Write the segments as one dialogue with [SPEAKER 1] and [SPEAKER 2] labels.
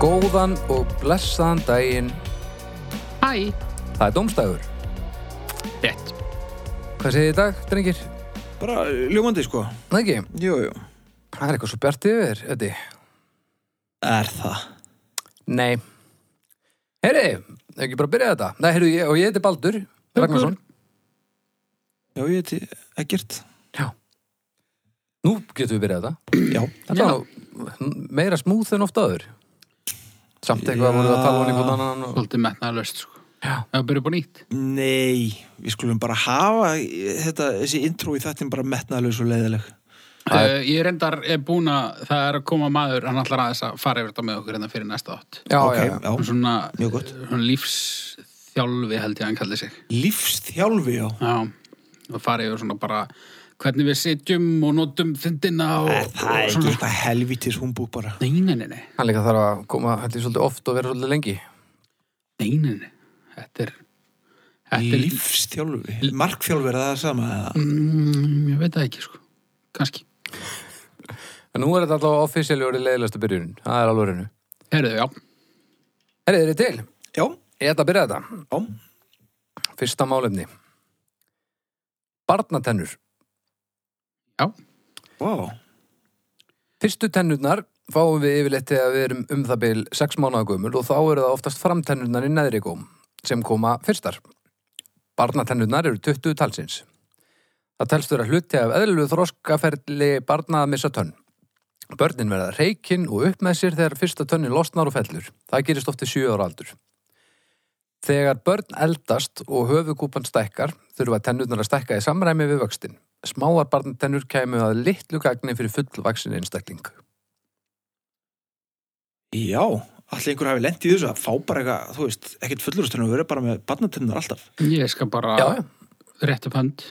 [SPEAKER 1] Góðan og blessaðan daginn.
[SPEAKER 2] Hæ,
[SPEAKER 1] Það er domstæður.
[SPEAKER 2] rétt.
[SPEAKER 1] Hvað segir þið í dag, drengir?
[SPEAKER 3] Bara ljúmandi sko
[SPEAKER 1] Það ekki?
[SPEAKER 3] Jú, jú
[SPEAKER 1] Það er eitthvað svo bjart yfir, Öddi.
[SPEAKER 3] Er það?
[SPEAKER 1] Nei. Heyri, hefur ekki bara byrjað þetta? Nei, heyrðu, ég, og ég heiti Baldur Ragnarsson.
[SPEAKER 3] Já, ég heiti Eggert
[SPEAKER 1] Já. Nú getum við byrjað þetta.
[SPEAKER 3] Já
[SPEAKER 1] Þetta var nú meira smúð en oft áður. Samt eitthvað
[SPEAKER 3] Já.
[SPEAKER 1] voruð að tala hún í hvort annan og...
[SPEAKER 2] Svolítið metnaðalöst, sko.
[SPEAKER 1] Já.
[SPEAKER 2] Það byrja upp á nýtt.
[SPEAKER 3] Nei, við skulum bara hafa eh, þetta, þessi intro í þettin bara metnaðlega og leiðileg
[SPEAKER 1] Það
[SPEAKER 2] Uh, ég reyndar er búin að það er að koma maður, hann ætlar aðeins að fara yfir þetta með okkur en það fyrir næsta átt.
[SPEAKER 1] Já,
[SPEAKER 3] Ok,
[SPEAKER 1] já, já.
[SPEAKER 3] já.
[SPEAKER 2] Svona,
[SPEAKER 3] Mjög gott.
[SPEAKER 2] svona lífsþjálfi held ég að hann kalli sig.
[SPEAKER 3] Lífsþjálfi, já
[SPEAKER 2] Já, og fara yfir svona bara hvernig við sitjum og notum fyndina og,
[SPEAKER 3] Er það
[SPEAKER 2] og
[SPEAKER 3] ekki
[SPEAKER 2] svona. sko.
[SPEAKER 3] eitthvað helvítis húmbúk bara?
[SPEAKER 2] Nei, nei, nei, nei,
[SPEAKER 1] Hann líka þarf að koma, held ég, svolítið oft og vera svolítið lengi.
[SPEAKER 2] nei, nei, nei. Þetta er, þetta er,
[SPEAKER 3] Lífsþjálfi Markþjálfi er það sama eða?
[SPEAKER 2] mm, ég veit það ekki, sko. Kanski.
[SPEAKER 1] En nú er þetta allavega offisíali orðið leiðilegastu byrjun. Það er alveg hennu.
[SPEAKER 2] Herðu, já.
[SPEAKER 1] Herri, þeir eru til.
[SPEAKER 3] Já,
[SPEAKER 1] Ég ætla að byrja þetta.
[SPEAKER 3] já
[SPEAKER 1] Fyrsta málefni. Barnatennur.
[SPEAKER 3] Vá,
[SPEAKER 1] Fyrstu tennurnar fáum við yfirleitt þegar við erum um það bil 6 mánuða gömul og þá eru það oftast framtennurnar í neðri góm sem koma fyrstar. Barnatennurnar eru 20 talsins. Það telst vera hluti af eðlulegu þroskaferli barna að missa tönn. Börnin verða reikinn og upp með sér þegar fyrsta tönnin losnar og fellur. Það gerist oft í 7 ára aldur. Þegar börn eldast og höfugúpan stækkar þurfa tennurnar að stækka í samræmi við vöxtin. Smáar barnatennur kæmu að litlu gagni fyrir fullvaksin einstakling.
[SPEAKER 3] já Allir einhver hafi lent í þessu að fá bara eitthvað, þú veist, ekkert fullurustunum og vera bara með barnatennar alltaf.
[SPEAKER 2] Ég skal bara
[SPEAKER 1] Já, já.
[SPEAKER 2] rétt upp hönd.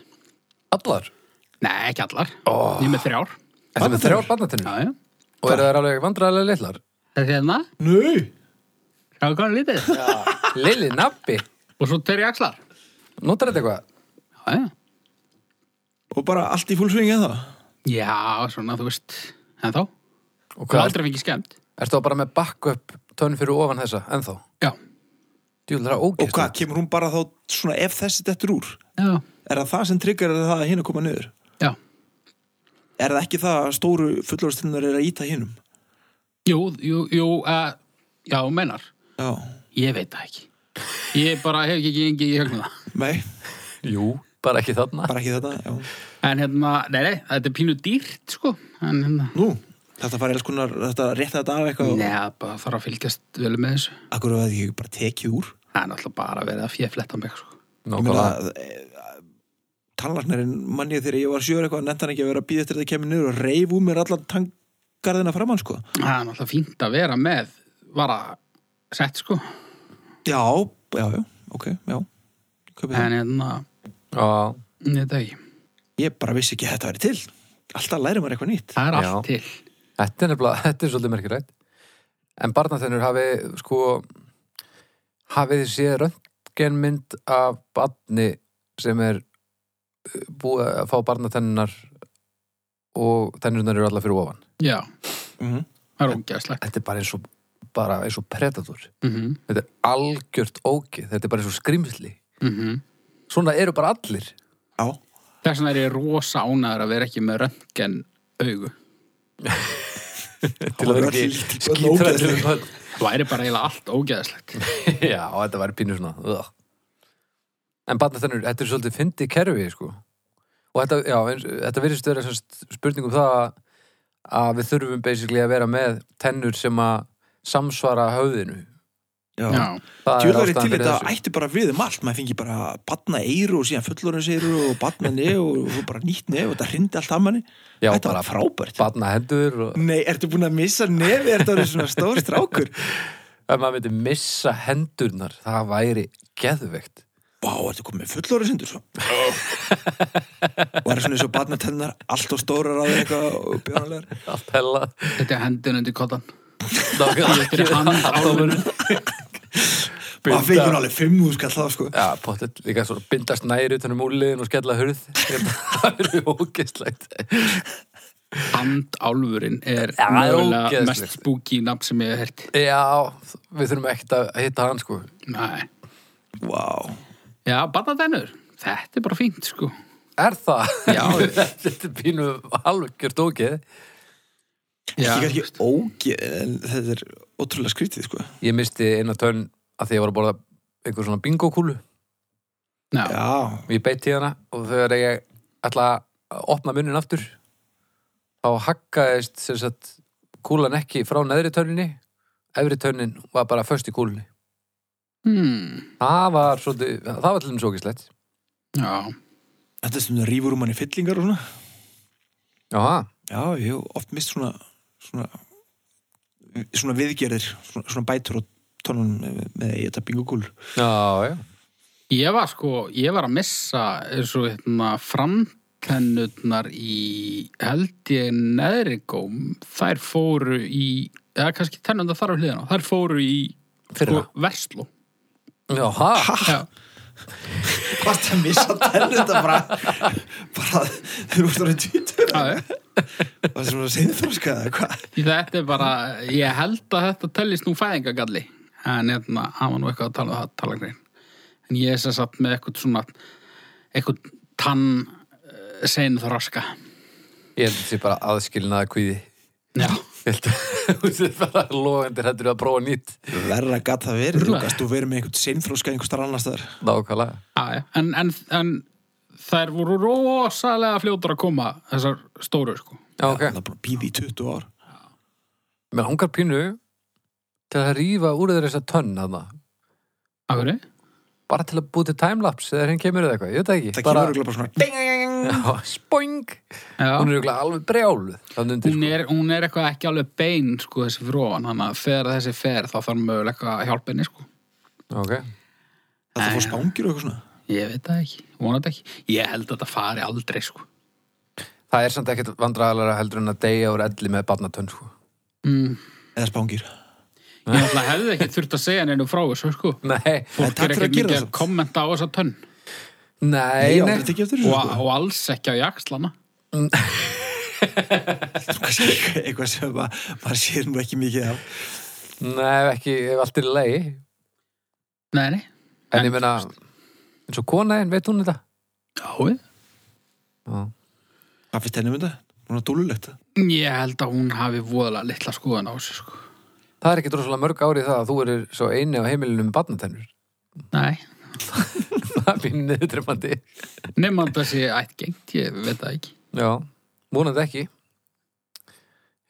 [SPEAKER 1] Allar?
[SPEAKER 2] Nei, ekki allar.
[SPEAKER 1] Oh.
[SPEAKER 2] Ég er með þrjár.
[SPEAKER 1] Þetta með þrjár barnatennur?
[SPEAKER 2] Já, já.
[SPEAKER 1] Og eru þær alveg vandræðilega litlar?
[SPEAKER 2] Það er hérna,
[SPEAKER 3] Nei!
[SPEAKER 2] sjá hvað hann lítið.
[SPEAKER 1] Lili, nabbi,
[SPEAKER 2] Og svo tveir í axlar.
[SPEAKER 1] notar þetta eitthvað?
[SPEAKER 2] Já, já.
[SPEAKER 3] Og bara allt í fúlsvingi eða?
[SPEAKER 2] Já, svona, þú veist, en þá.
[SPEAKER 1] Og
[SPEAKER 2] Hvað
[SPEAKER 1] hvað?
[SPEAKER 2] aldrei fengið skemmt.
[SPEAKER 1] Ertu þá bara með backup tönn fyrir ofan þessa, ennþá?
[SPEAKER 2] Já.
[SPEAKER 1] Djúl, það er
[SPEAKER 3] Og hvað,
[SPEAKER 1] ógæst.
[SPEAKER 3] kemur hún bara þá svona ef þessi dettur úr?
[SPEAKER 2] Já.
[SPEAKER 3] Er það það sem tryggar það að hinn að koma niður?
[SPEAKER 2] Já.
[SPEAKER 3] Er það ekki það að stóru fullorðstrinnar er að íta hinnum?
[SPEAKER 2] Jú, jú, jú, uh, já, mennar.
[SPEAKER 3] Já.
[SPEAKER 2] Ég veit það ekki. Ég bara hef ekki engi í högnum það.
[SPEAKER 3] Nei,
[SPEAKER 1] Jú, bara ekki þarna.
[SPEAKER 3] bara ekki þetta, já.
[SPEAKER 2] En hérna, nei, nei, þetta er pínu dýrt, sko. En hérna,
[SPEAKER 3] Nú, þetta farið alls konar, þetta rétta þetta af eitthvað og
[SPEAKER 2] neða, bara þarf að fylgjast vel með þessu.
[SPEAKER 3] akkur að það ekki bara tekið úr.
[SPEAKER 2] Það er náttúrulega bara verið að fjöfletta mig, sko.
[SPEAKER 3] Ég meina
[SPEAKER 1] Nákvæmlega.
[SPEAKER 3] að tannlarnarinn manni þegar ég var sjöur eitthvað nefnt hann ekki að vera að býða eftir þetta kemur niður og reif úr mér allan tangarðina framann, sko.
[SPEAKER 2] Það er náttúrulega fínt að vera með, vara sett, sko.
[SPEAKER 3] Já, já, já, ok, já. Kaupið það.
[SPEAKER 2] En hérna,
[SPEAKER 1] Já,
[SPEAKER 2] ég veit það ekki.
[SPEAKER 3] Ég bara vissi ekki að þetta væri til. Alltaf læri maður eitthvað nýtt.
[SPEAKER 2] Það er
[SPEAKER 1] Já.
[SPEAKER 2] allt til.
[SPEAKER 1] þetta er nefnilega, þetta er svolítið merkirætt. En barnatennur hafi, sko, hafið þið séð röntgenmynd af barni sem er uh, búið að fá barnatennunar og tennurnar eru allar fyrir ofan.
[SPEAKER 2] Já,
[SPEAKER 3] Mhm.
[SPEAKER 2] það er ógæðslegt.
[SPEAKER 1] Þetta er bara eins og, bara eins og predator.
[SPEAKER 2] Mhm,
[SPEAKER 1] Þetta er algjört ógið, þetta er bara eins og skrimsli.
[SPEAKER 2] mhm.
[SPEAKER 1] Svona eru bara allir.
[SPEAKER 3] Já,
[SPEAKER 2] Þess vegna er ég rosa ánæður að vera ekki með röntgen augu.
[SPEAKER 3] til að vera ekki skítræðileg
[SPEAKER 2] Það væri bara eiginlega allt ógeðslegt.
[SPEAKER 1] Já, og þetta væri pínu svona. Ugh. En barnatennur, þetta er svolítið fyndi kerfi, sko. Og þetta, já, eins, þetta virðist vera semst spurning um það að- að við þurfum basically að vera með tennur sem að samsvara höfðinu.
[SPEAKER 3] Já.
[SPEAKER 2] Já,
[SPEAKER 1] Það
[SPEAKER 3] Tjóðu verið
[SPEAKER 1] ástæðan
[SPEAKER 3] til
[SPEAKER 1] fyrir
[SPEAKER 3] þetta
[SPEAKER 1] þessu.
[SPEAKER 3] ætti bara við um allt, maður fengi bara batna eiru og síðan fullorins eiru og batna nef og svo bara nýtt nef og þetta hrindi allt að manni.
[SPEAKER 1] Já,
[SPEAKER 3] þetta
[SPEAKER 1] bara
[SPEAKER 3] var frábært.
[SPEAKER 1] Barnahendur og
[SPEAKER 3] Nei, ertu búin að missa nefi, ertu að vera svona stór strákur?
[SPEAKER 1] ef maður myndi missa hendurnar, það væri geðveikt.
[SPEAKER 3] Vá, ertu komið með fullorins endur svo? og er svona eins og batna tennar allt og stórar á þér eitthvað og björnulegar.
[SPEAKER 1] Allt hella.
[SPEAKER 2] þetta er hendun undir kottan. Þetta er hann álunum.
[SPEAKER 1] Nákvæmlega.
[SPEAKER 3] Maður fengi hún alveg fimm úrskall þá sko.
[SPEAKER 1] Já, pottet líka svona um bindast næri utanum úliðin og skella hurð. Þetta er ógeðslegt.
[SPEAKER 2] Andálfurinn er
[SPEAKER 1] Já, það er
[SPEAKER 2] mögulega
[SPEAKER 1] ógeðslegt.
[SPEAKER 2] mest spooky nafn sem ég hef herti.
[SPEAKER 1] Já, við þurfum ekkert að hitta hann sko
[SPEAKER 2] Nei.
[SPEAKER 3] Vá.
[SPEAKER 2] Já, barnatennur. Þetta er bara fínt, sko.
[SPEAKER 1] Er það?
[SPEAKER 2] Já.
[SPEAKER 1] Þetta er pínu algjört ógeð
[SPEAKER 3] Ekki
[SPEAKER 2] Já,
[SPEAKER 3] kannski ógeð, en þetta er ótrúlega skrítið, sko.
[SPEAKER 1] Ég misti eina tönn að því ég var að borða einhver svona bingokúlu
[SPEAKER 2] já.
[SPEAKER 3] Já.
[SPEAKER 1] og ég beitt í hana og þegar ég ætla að opna munnin aftur þá hakkaðist sem sagt kúlan ekki frá neðri tönninni efri tönnin var bara föst í kúlunni
[SPEAKER 2] Hmm.
[SPEAKER 1] það var svolítið, það var til þeim sjókislegt
[SPEAKER 2] já.
[SPEAKER 3] Þetta er stundum rýfur um hann í fyllingar og svona.
[SPEAKER 1] Jaha,
[SPEAKER 3] Já, ég hef oft mist svona, svona, svona viðgerðir, svona, svona bætur og tónun með í þetta bingokúl.
[SPEAKER 1] já, já
[SPEAKER 2] Ég var sko, ég var að missa eins og hérna framtennutnar í held ég neðri góm, þær fóru í, eða kannski tennundar þar á hliðina, þær fóru í
[SPEAKER 1] Fyrra.
[SPEAKER 2] versló.
[SPEAKER 1] Jaha,
[SPEAKER 2] Já,
[SPEAKER 3] Hvað það missa tennið þetta bara, bara þeir eru orðið tvítur.
[SPEAKER 2] já, já.
[SPEAKER 3] Það er svona seinþróska eða hvað.
[SPEAKER 2] þetta er bara, ég held að þetta tellist nú fæðingagalli, en hérna, hann var nú eitthvað að tala, að tala grein. En ég er sem sagt með eitthvað svona, eitthvað tann eh, seinþroska.
[SPEAKER 1] ég held þessi bara aðskilnaða kvíði
[SPEAKER 2] Já,
[SPEAKER 1] Þetta er bara logandi hættur að prófa nýtt
[SPEAKER 3] Verra gat það verið, þú
[SPEAKER 2] Rúla.
[SPEAKER 3] gast þú verið með einhvern seinþróska einhvern starf annars þar.
[SPEAKER 1] Nákvæmlega
[SPEAKER 2] Já, já, en, en, en þær voru rosalega fljótar að koma, þessar stóru, sko.
[SPEAKER 1] Já, ok
[SPEAKER 3] Það er bara býði í 20 ár.
[SPEAKER 1] Mér hangar pínu til að rífa úr þeir þessa tönn hana.
[SPEAKER 2] Af hverju? bara
[SPEAKER 1] bara til að búið til timelapse eða henn kemur eða eitthvað, ég veit það ekki
[SPEAKER 3] Það
[SPEAKER 1] bara,
[SPEAKER 3] kemur örugglega bara svona ding, ding, ding.
[SPEAKER 1] Já, spoing
[SPEAKER 2] Já.
[SPEAKER 1] Hún er örugglega alveg brjáluð þarna undir, sko.
[SPEAKER 2] Hún
[SPEAKER 3] sko.
[SPEAKER 2] er, hún er eitthvað ekki alveg bein, sko, þessi fróan, þannig að þegar þessi fer þá þarf möguleika að hjálpa henni, sko.
[SPEAKER 1] sko. okay.
[SPEAKER 3] Það fór spangir og eitthvað svona.
[SPEAKER 2] Ég veit það ekki, vonað ekki. Ég held að þetta fari aldrei, sko.
[SPEAKER 1] Það er samt ekkert vandræðalega heldur en að deyja úr elli með barnatönn sko.
[SPEAKER 2] Mm.
[SPEAKER 3] Eða spangir.
[SPEAKER 2] Ég ætla hefði ekki þurft að segja henni frá þessu, sko.
[SPEAKER 1] Nei,
[SPEAKER 3] En
[SPEAKER 2] Fólk
[SPEAKER 3] takk
[SPEAKER 2] er
[SPEAKER 3] fyrir að
[SPEAKER 2] ekki
[SPEAKER 3] gera
[SPEAKER 2] mikið
[SPEAKER 3] það
[SPEAKER 2] að
[SPEAKER 3] samt.
[SPEAKER 2] kommenta á þessa tönn
[SPEAKER 1] nei,
[SPEAKER 3] Ég
[SPEAKER 1] nei.
[SPEAKER 3] átti ekki eftir þessu.
[SPEAKER 2] og,
[SPEAKER 3] sko.
[SPEAKER 2] og alls ekki á jakslana.
[SPEAKER 3] Kannski Eitthvað sem ma- maður sér nú ekki mikið af.
[SPEAKER 1] nei ekki, ef allt er í lei En
[SPEAKER 2] Nei, nei.
[SPEAKER 1] ég meina, eins og kona einn, veit hún þetta?
[SPEAKER 2] Já, við.
[SPEAKER 1] Já.
[SPEAKER 3] Hvað finnst henni um þetta? Hún er dúlulegt.
[SPEAKER 2] Ég held að hún hafi voðalega litla skoðan á þessu, sko.
[SPEAKER 1] Það er ekki droslega mörg ári það að þú erir svo eini á heimilinu með barnatennur
[SPEAKER 2] Nei,
[SPEAKER 1] Það er mínu niðurdrefandi
[SPEAKER 2] Nefnum að það sé ættgengt, ég veit það ekki.
[SPEAKER 1] Já, múnandi ekki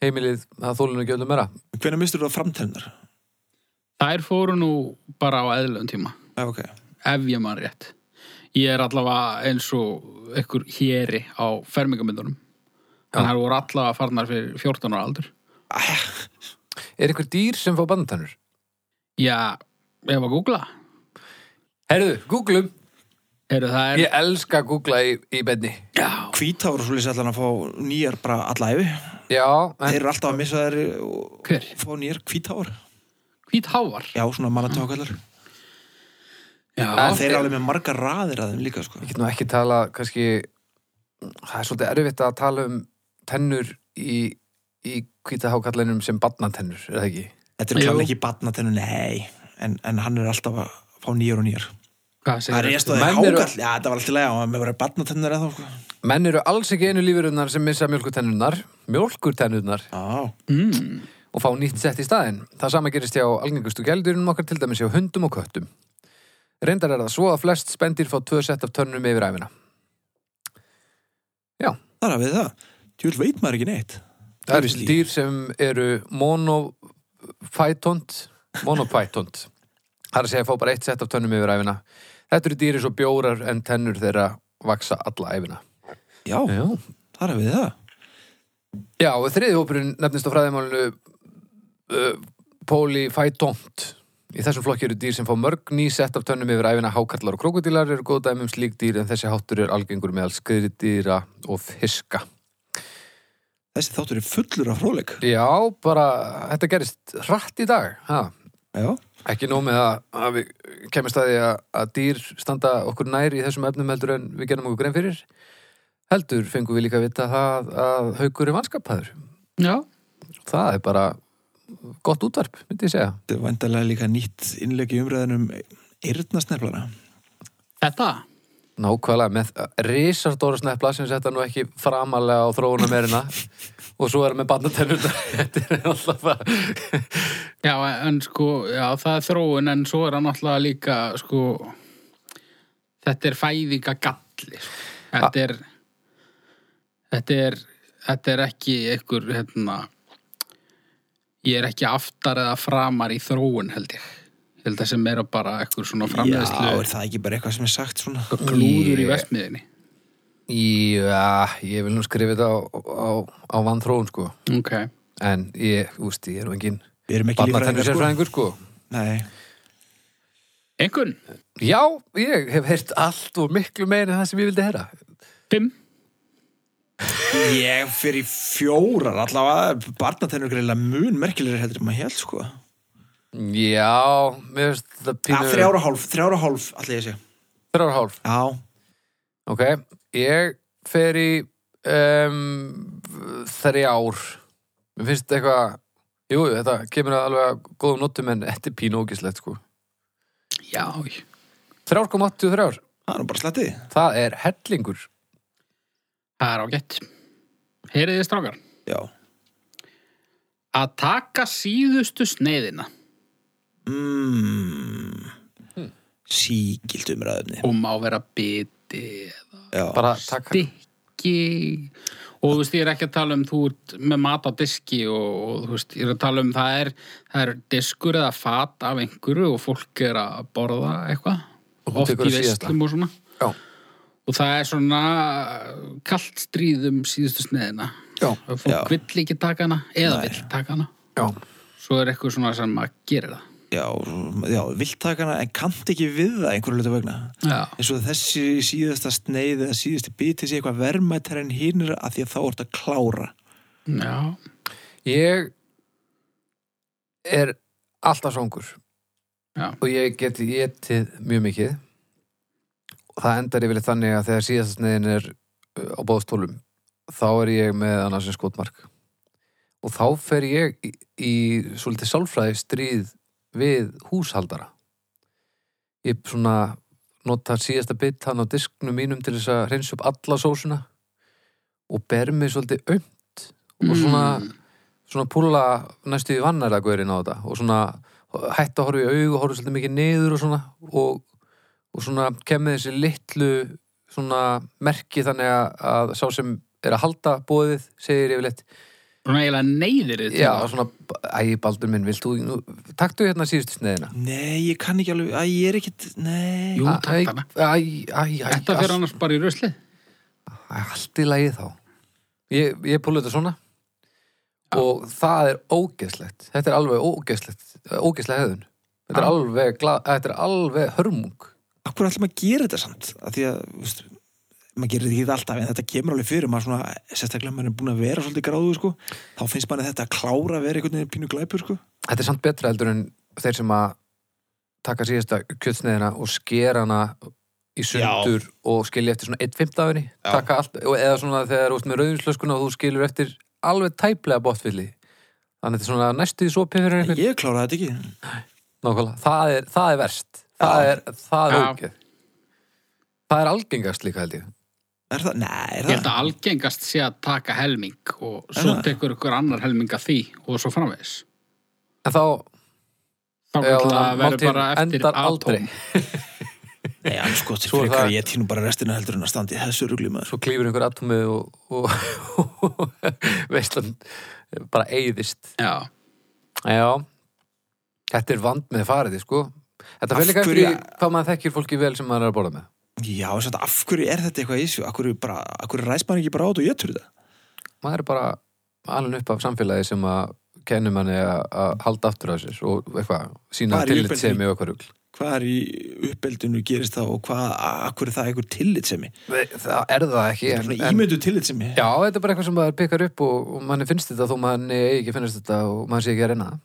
[SPEAKER 1] Heimilið, það þólinu ekki öllu meira
[SPEAKER 3] Hvenær mistur þú að framtennar?
[SPEAKER 2] Þær fóru nú bara á eðlum tíma,
[SPEAKER 3] Já, ok.
[SPEAKER 2] ef ég man rétt. Ég er allavega eins og einhver héri á fermingamindunum. Þannig að það voru allavega farnar fyrir 14 ára aldur.
[SPEAKER 1] Er einhver dýr sem fá barnatennur?
[SPEAKER 2] Já, ef að googla.
[SPEAKER 1] Herðu, googlum
[SPEAKER 2] Eru það er...
[SPEAKER 1] Ég elska að googla í, í benni
[SPEAKER 2] Já,
[SPEAKER 3] Hvítár og svolítið allan að fá nýjar bara alla æfi.
[SPEAKER 1] Já,
[SPEAKER 3] Þeir
[SPEAKER 1] en
[SPEAKER 3] eru alltaf að missa þær og
[SPEAKER 2] hver?
[SPEAKER 3] fá nýjar hvítár.
[SPEAKER 2] Hvít hávar.
[SPEAKER 3] Já, svona mannatákallar.
[SPEAKER 1] Mm.
[SPEAKER 2] Já,
[SPEAKER 1] En
[SPEAKER 3] Þeir eru alveg með margar raðir að þeim líka, sko.
[SPEAKER 1] ég get nú ekki tala kannski það er svolítið erfitt að tala um tennur í, í hvítahákallinum sem barnatennur, er það ekki?
[SPEAKER 3] Þetta er
[SPEAKER 2] Jú.
[SPEAKER 3] klálega ekki batnatennu, nei. En, en hann er alltaf að fá nýjar og nýjar.
[SPEAKER 2] hvað
[SPEAKER 3] Það er
[SPEAKER 2] segir
[SPEAKER 3] rétt og
[SPEAKER 1] Menn
[SPEAKER 3] þeir
[SPEAKER 1] eru-
[SPEAKER 3] hákall. Já, þetta var alltaf lega. Mér verið batnatennar eða þá, sko.
[SPEAKER 1] Menn eru alls ekki einu lífurunnar sem missa mjölkurtennurnar mjölkurtennurnar
[SPEAKER 3] Já.
[SPEAKER 2] Mm,
[SPEAKER 1] og fá nýtt sett í staðinn. Það sama gerist hjá algengustu gældurinn okkar til dæmis hjá hundum og köttum. Reyndar er það svo að flest spendir fá tvö sett af tönnum yfir æfina.
[SPEAKER 3] Það er að við það. Tjúl veit maður ekki neitt.
[SPEAKER 1] Það eru
[SPEAKER 3] Obviously.
[SPEAKER 1] dýr sem eru monopætont monopætont það er að segja að fá bara eitt sett af tönnum yfir æfina Þetta eru dýr eins og bjórar en tennur þeirra vaksa alla æfina
[SPEAKER 3] Já,
[SPEAKER 1] Já,
[SPEAKER 3] það er að við það.
[SPEAKER 1] Já og þriði hópurinn nefnist á fræðimálinu uh, polifætont Í þessum flokki eru dýr sem fá mörg ný sett af tönnum yfir æfina hákallar og krokodílar eru góð dæmi um slík dýr en þessi háttur er algengur meðal skriðdýra og fiska
[SPEAKER 3] Þessi þáttur er fullur af fróðleik.
[SPEAKER 1] Já, bara þetta gerist hratt í dag ha?
[SPEAKER 3] Já.
[SPEAKER 1] ekki nóg með að, að við kemur staði að, að dýr standa okkur nær í þessum efnum heldur en við gerum okkur grein fyrir heldur fengum við líka að vita það að haukur er vanskapaður.
[SPEAKER 2] Já,
[SPEAKER 1] Það er bara gott útvarp, myndi ég segja.
[SPEAKER 3] Þetta er vandalega líka nýtt innlegi umræðanum eyrnasneflana.
[SPEAKER 2] þetta
[SPEAKER 1] Nákvæmlega með risardóra snefla sem setja nú ekki framalega á þróunum erina og svo erum við barnatennurnar. Þetta er alltaf bara...
[SPEAKER 2] Já, en sko, já, það er þróun en svo er hann alltaf líka sko, þetta er fæðinga galli þetta er þetta er þetta er ekki einhver hérna, ég er ekki aftar eða framar í þróun held ég Ég held það sem er bara eitthvað svona
[SPEAKER 3] Já, er
[SPEAKER 2] framleiðslu
[SPEAKER 3] það ekki bara eitthvað sem er sagt svona?
[SPEAKER 2] glúður í
[SPEAKER 1] Ég-
[SPEAKER 2] vestmiðinni
[SPEAKER 1] Já, ég vil nú skrifa þetta á, á, á vanþróun, sko.
[SPEAKER 2] Ok,
[SPEAKER 1] En ég, úst, ég er nú engin
[SPEAKER 3] Við erum ekki
[SPEAKER 1] barnatennur
[SPEAKER 3] lífræðingar,
[SPEAKER 1] sérfræðingur, sko.
[SPEAKER 3] sko. Nei,
[SPEAKER 2] einhvern,
[SPEAKER 1] Já, ég hef heyrt allt og miklu meira en það sem ég vildi heyra.
[SPEAKER 2] fimm
[SPEAKER 3] ég fyrir fjórar allavega, barnatennur greiðlega mun merkilegri heldur en maður held, sko.
[SPEAKER 1] Já, mér finnst þetta
[SPEAKER 3] Ja,
[SPEAKER 1] pínu...
[SPEAKER 3] þrjára Ah, hálf, þrjára hálf, allir ég sé.
[SPEAKER 1] Þrjár og hálf.
[SPEAKER 3] Já,
[SPEAKER 1] Ok, ég fer í um, þrjár. Mér finnst eitthvað... Jú, jú, þetta kemur að alveg að góðum notum en þetta er pínu ógislegt, sko.
[SPEAKER 2] Já, já.
[SPEAKER 1] 3,83.
[SPEAKER 3] það er nú bara slettið.
[SPEAKER 1] Það er hellingur.
[SPEAKER 2] það er ágætt Heyriði strákar
[SPEAKER 3] Já.
[SPEAKER 2] Að taka síðustu sneiðina
[SPEAKER 3] Mm. Sígilt umræðumni.
[SPEAKER 2] og má vera biti
[SPEAKER 3] Já.
[SPEAKER 1] Bara takk...
[SPEAKER 2] stykki og þú veist, ég er ekki að tala um þú ert með mat á diski og, og þú veist, ég er að tala um það er, það er diskur eða fat af einhverju og fólk er að borða
[SPEAKER 1] Og
[SPEAKER 2] eitthvað
[SPEAKER 1] þú
[SPEAKER 2] oft
[SPEAKER 1] tekur
[SPEAKER 2] í
[SPEAKER 1] það síðasta.
[SPEAKER 2] veistlum og svona
[SPEAKER 1] Já,
[SPEAKER 2] og það er svona kalt stríðum síðustu sneiðina
[SPEAKER 1] já,
[SPEAKER 2] og
[SPEAKER 3] Já.
[SPEAKER 2] fólk vill ekki taka hana
[SPEAKER 3] Nei.
[SPEAKER 2] eða vill taka hana
[SPEAKER 1] já.
[SPEAKER 2] svo er eitthvað svona sem að gera
[SPEAKER 3] Já, já, viltakana en kannt ekki við það einhverju hlutu vegna
[SPEAKER 2] það já,
[SPEAKER 3] eins og þessi síðasta sneið eða síðasti biti sé eitthvað verðmættar en hinnir að því að þá ert að klára
[SPEAKER 2] já,
[SPEAKER 1] Ég er alltaf svongur
[SPEAKER 2] Já.
[SPEAKER 1] og ég get getið mjög mikið og það endar yfirleitt þannig að þegar síðast sniðin er uh, á bóðstólum þá er ég með annars en skotmark og þá fer ég í, í svolítið sálfræði stríð við húshaldara ég svona nota síðasta bit hann á disknum mínum til þess að hreinsa upp alla sósuna og ber mig svolítið aumt og svona
[SPEAKER 2] Mm.
[SPEAKER 1] svona púla næstu í vannarða guðurinn á þetta og svona hætt að horfa í aug og horfa svolítið mikið niður og svona og, og svona kemur þessi litlu svona merki þannig að, að sá sem er að halda bóðið segir yfirleitt
[SPEAKER 2] svona eiginlega neyðir þig til
[SPEAKER 1] já,
[SPEAKER 2] það.
[SPEAKER 1] svona, æ, Baldur minn, vilt þú nú, taktu hérna síðustu sneiðina
[SPEAKER 3] Nei, ég kann ekki alveg, að ég er ekkit Nei, Jú.
[SPEAKER 2] Jú.
[SPEAKER 1] Æ,
[SPEAKER 2] taktu hana.
[SPEAKER 1] æ, æ, æ,
[SPEAKER 2] þetta fyrir annars bara í rusli
[SPEAKER 1] Það er allt í lagi þá ég, ég púla þetta svona og það er ógeðslegt þetta er alveg ógeðslegt ógeðslega hefðun þetta er
[SPEAKER 2] Já.
[SPEAKER 1] alveg, gla, þetta er alveg hörmung
[SPEAKER 3] akkur allir maður gerir þetta samt að því að, veist, maður gerir þetta ekki alltaf en þetta kemur alveg fyrir, maður svona sérstaklega maður er búin að vera svolítið gráðu, sko þá finnst maður þetta að klára að vera einhvern veginn pínu glæpur, sko
[SPEAKER 1] þetta er samt betra heldur en þeir sem að taka síðasta kjötsneiðina og skera hana í sundur og skilja eftir svona 1.5 af henni
[SPEAKER 3] Já.
[SPEAKER 1] taka allt, og- eða svona þegar þú ert með rauðinslöskuna og þú skilur eftir alveg tæplega bóttfylli þannig þetta er svona næstu í sopi fyrir einhvern
[SPEAKER 3] Ég kláraði þetta ekki
[SPEAKER 1] Nákvæmlega, það er, það er verst Það
[SPEAKER 3] Já.
[SPEAKER 1] er, það er
[SPEAKER 2] Já.
[SPEAKER 1] ógeð Það er algengast líka held ég
[SPEAKER 3] Er það? Nei, er
[SPEAKER 2] Ég held
[SPEAKER 3] það?
[SPEAKER 2] að algengast sé að taka helming og svo
[SPEAKER 3] það?
[SPEAKER 2] tekur ykkur annar helming að því og svo framvegis.
[SPEAKER 1] En þá,
[SPEAKER 2] Þá
[SPEAKER 1] Já,
[SPEAKER 2] verður
[SPEAKER 1] þannig að máltíðin
[SPEAKER 2] bara eftir
[SPEAKER 1] endar aldrei.
[SPEAKER 2] atóm.
[SPEAKER 3] Nei, alls gott,
[SPEAKER 1] Svo er
[SPEAKER 3] frekar
[SPEAKER 1] það-
[SPEAKER 3] ég týnum bara restina heldur en að standi í þessu rugli, maður.
[SPEAKER 1] svo klýfur einhver atomið og, og, og veistlan bara eyðist
[SPEAKER 2] Já,
[SPEAKER 1] Já, þetta er vand með farið sko Þetta
[SPEAKER 3] Af
[SPEAKER 1] fyrir líka eftir
[SPEAKER 3] hverju-
[SPEAKER 1] í hvað maður þekkir fólki vel sem maður er að borða með
[SPEAKER 3] Já, þess að af hverju er þetta eitthvað í þessu? Af hverju, bara, af hverju ræst maður ekki bara á þetta og ég þetta?
[SPEAKER 1] Maður er bara alveg upp af samfélagi sem að kennum manni að að halda aftur á sér og eitthvað, sína
[SPEAKER 3] Bara í
[SPEAKER 1] tillit sem í okkur rugl
[SPEAKER 3] Hvað er í uppeldinu gerist það og hvað, af hverju er það eitthvað tillitsemi?
[SPEAKER 1] Það er það ekki
[SPEAKER 3] Það er
[SPEAKER 1] en-
[SPEAKER 3] svona
[SPEAKER 1] en-
[SPEAKER 3] ímyndu tillitsemi.
[SPEAKER 1] Já, þetta er bara eitthvað sem maður pekar upp og, og manni finnst þetta þó manni eigi ekki finnst þetta og mann sé ekki að reyna það.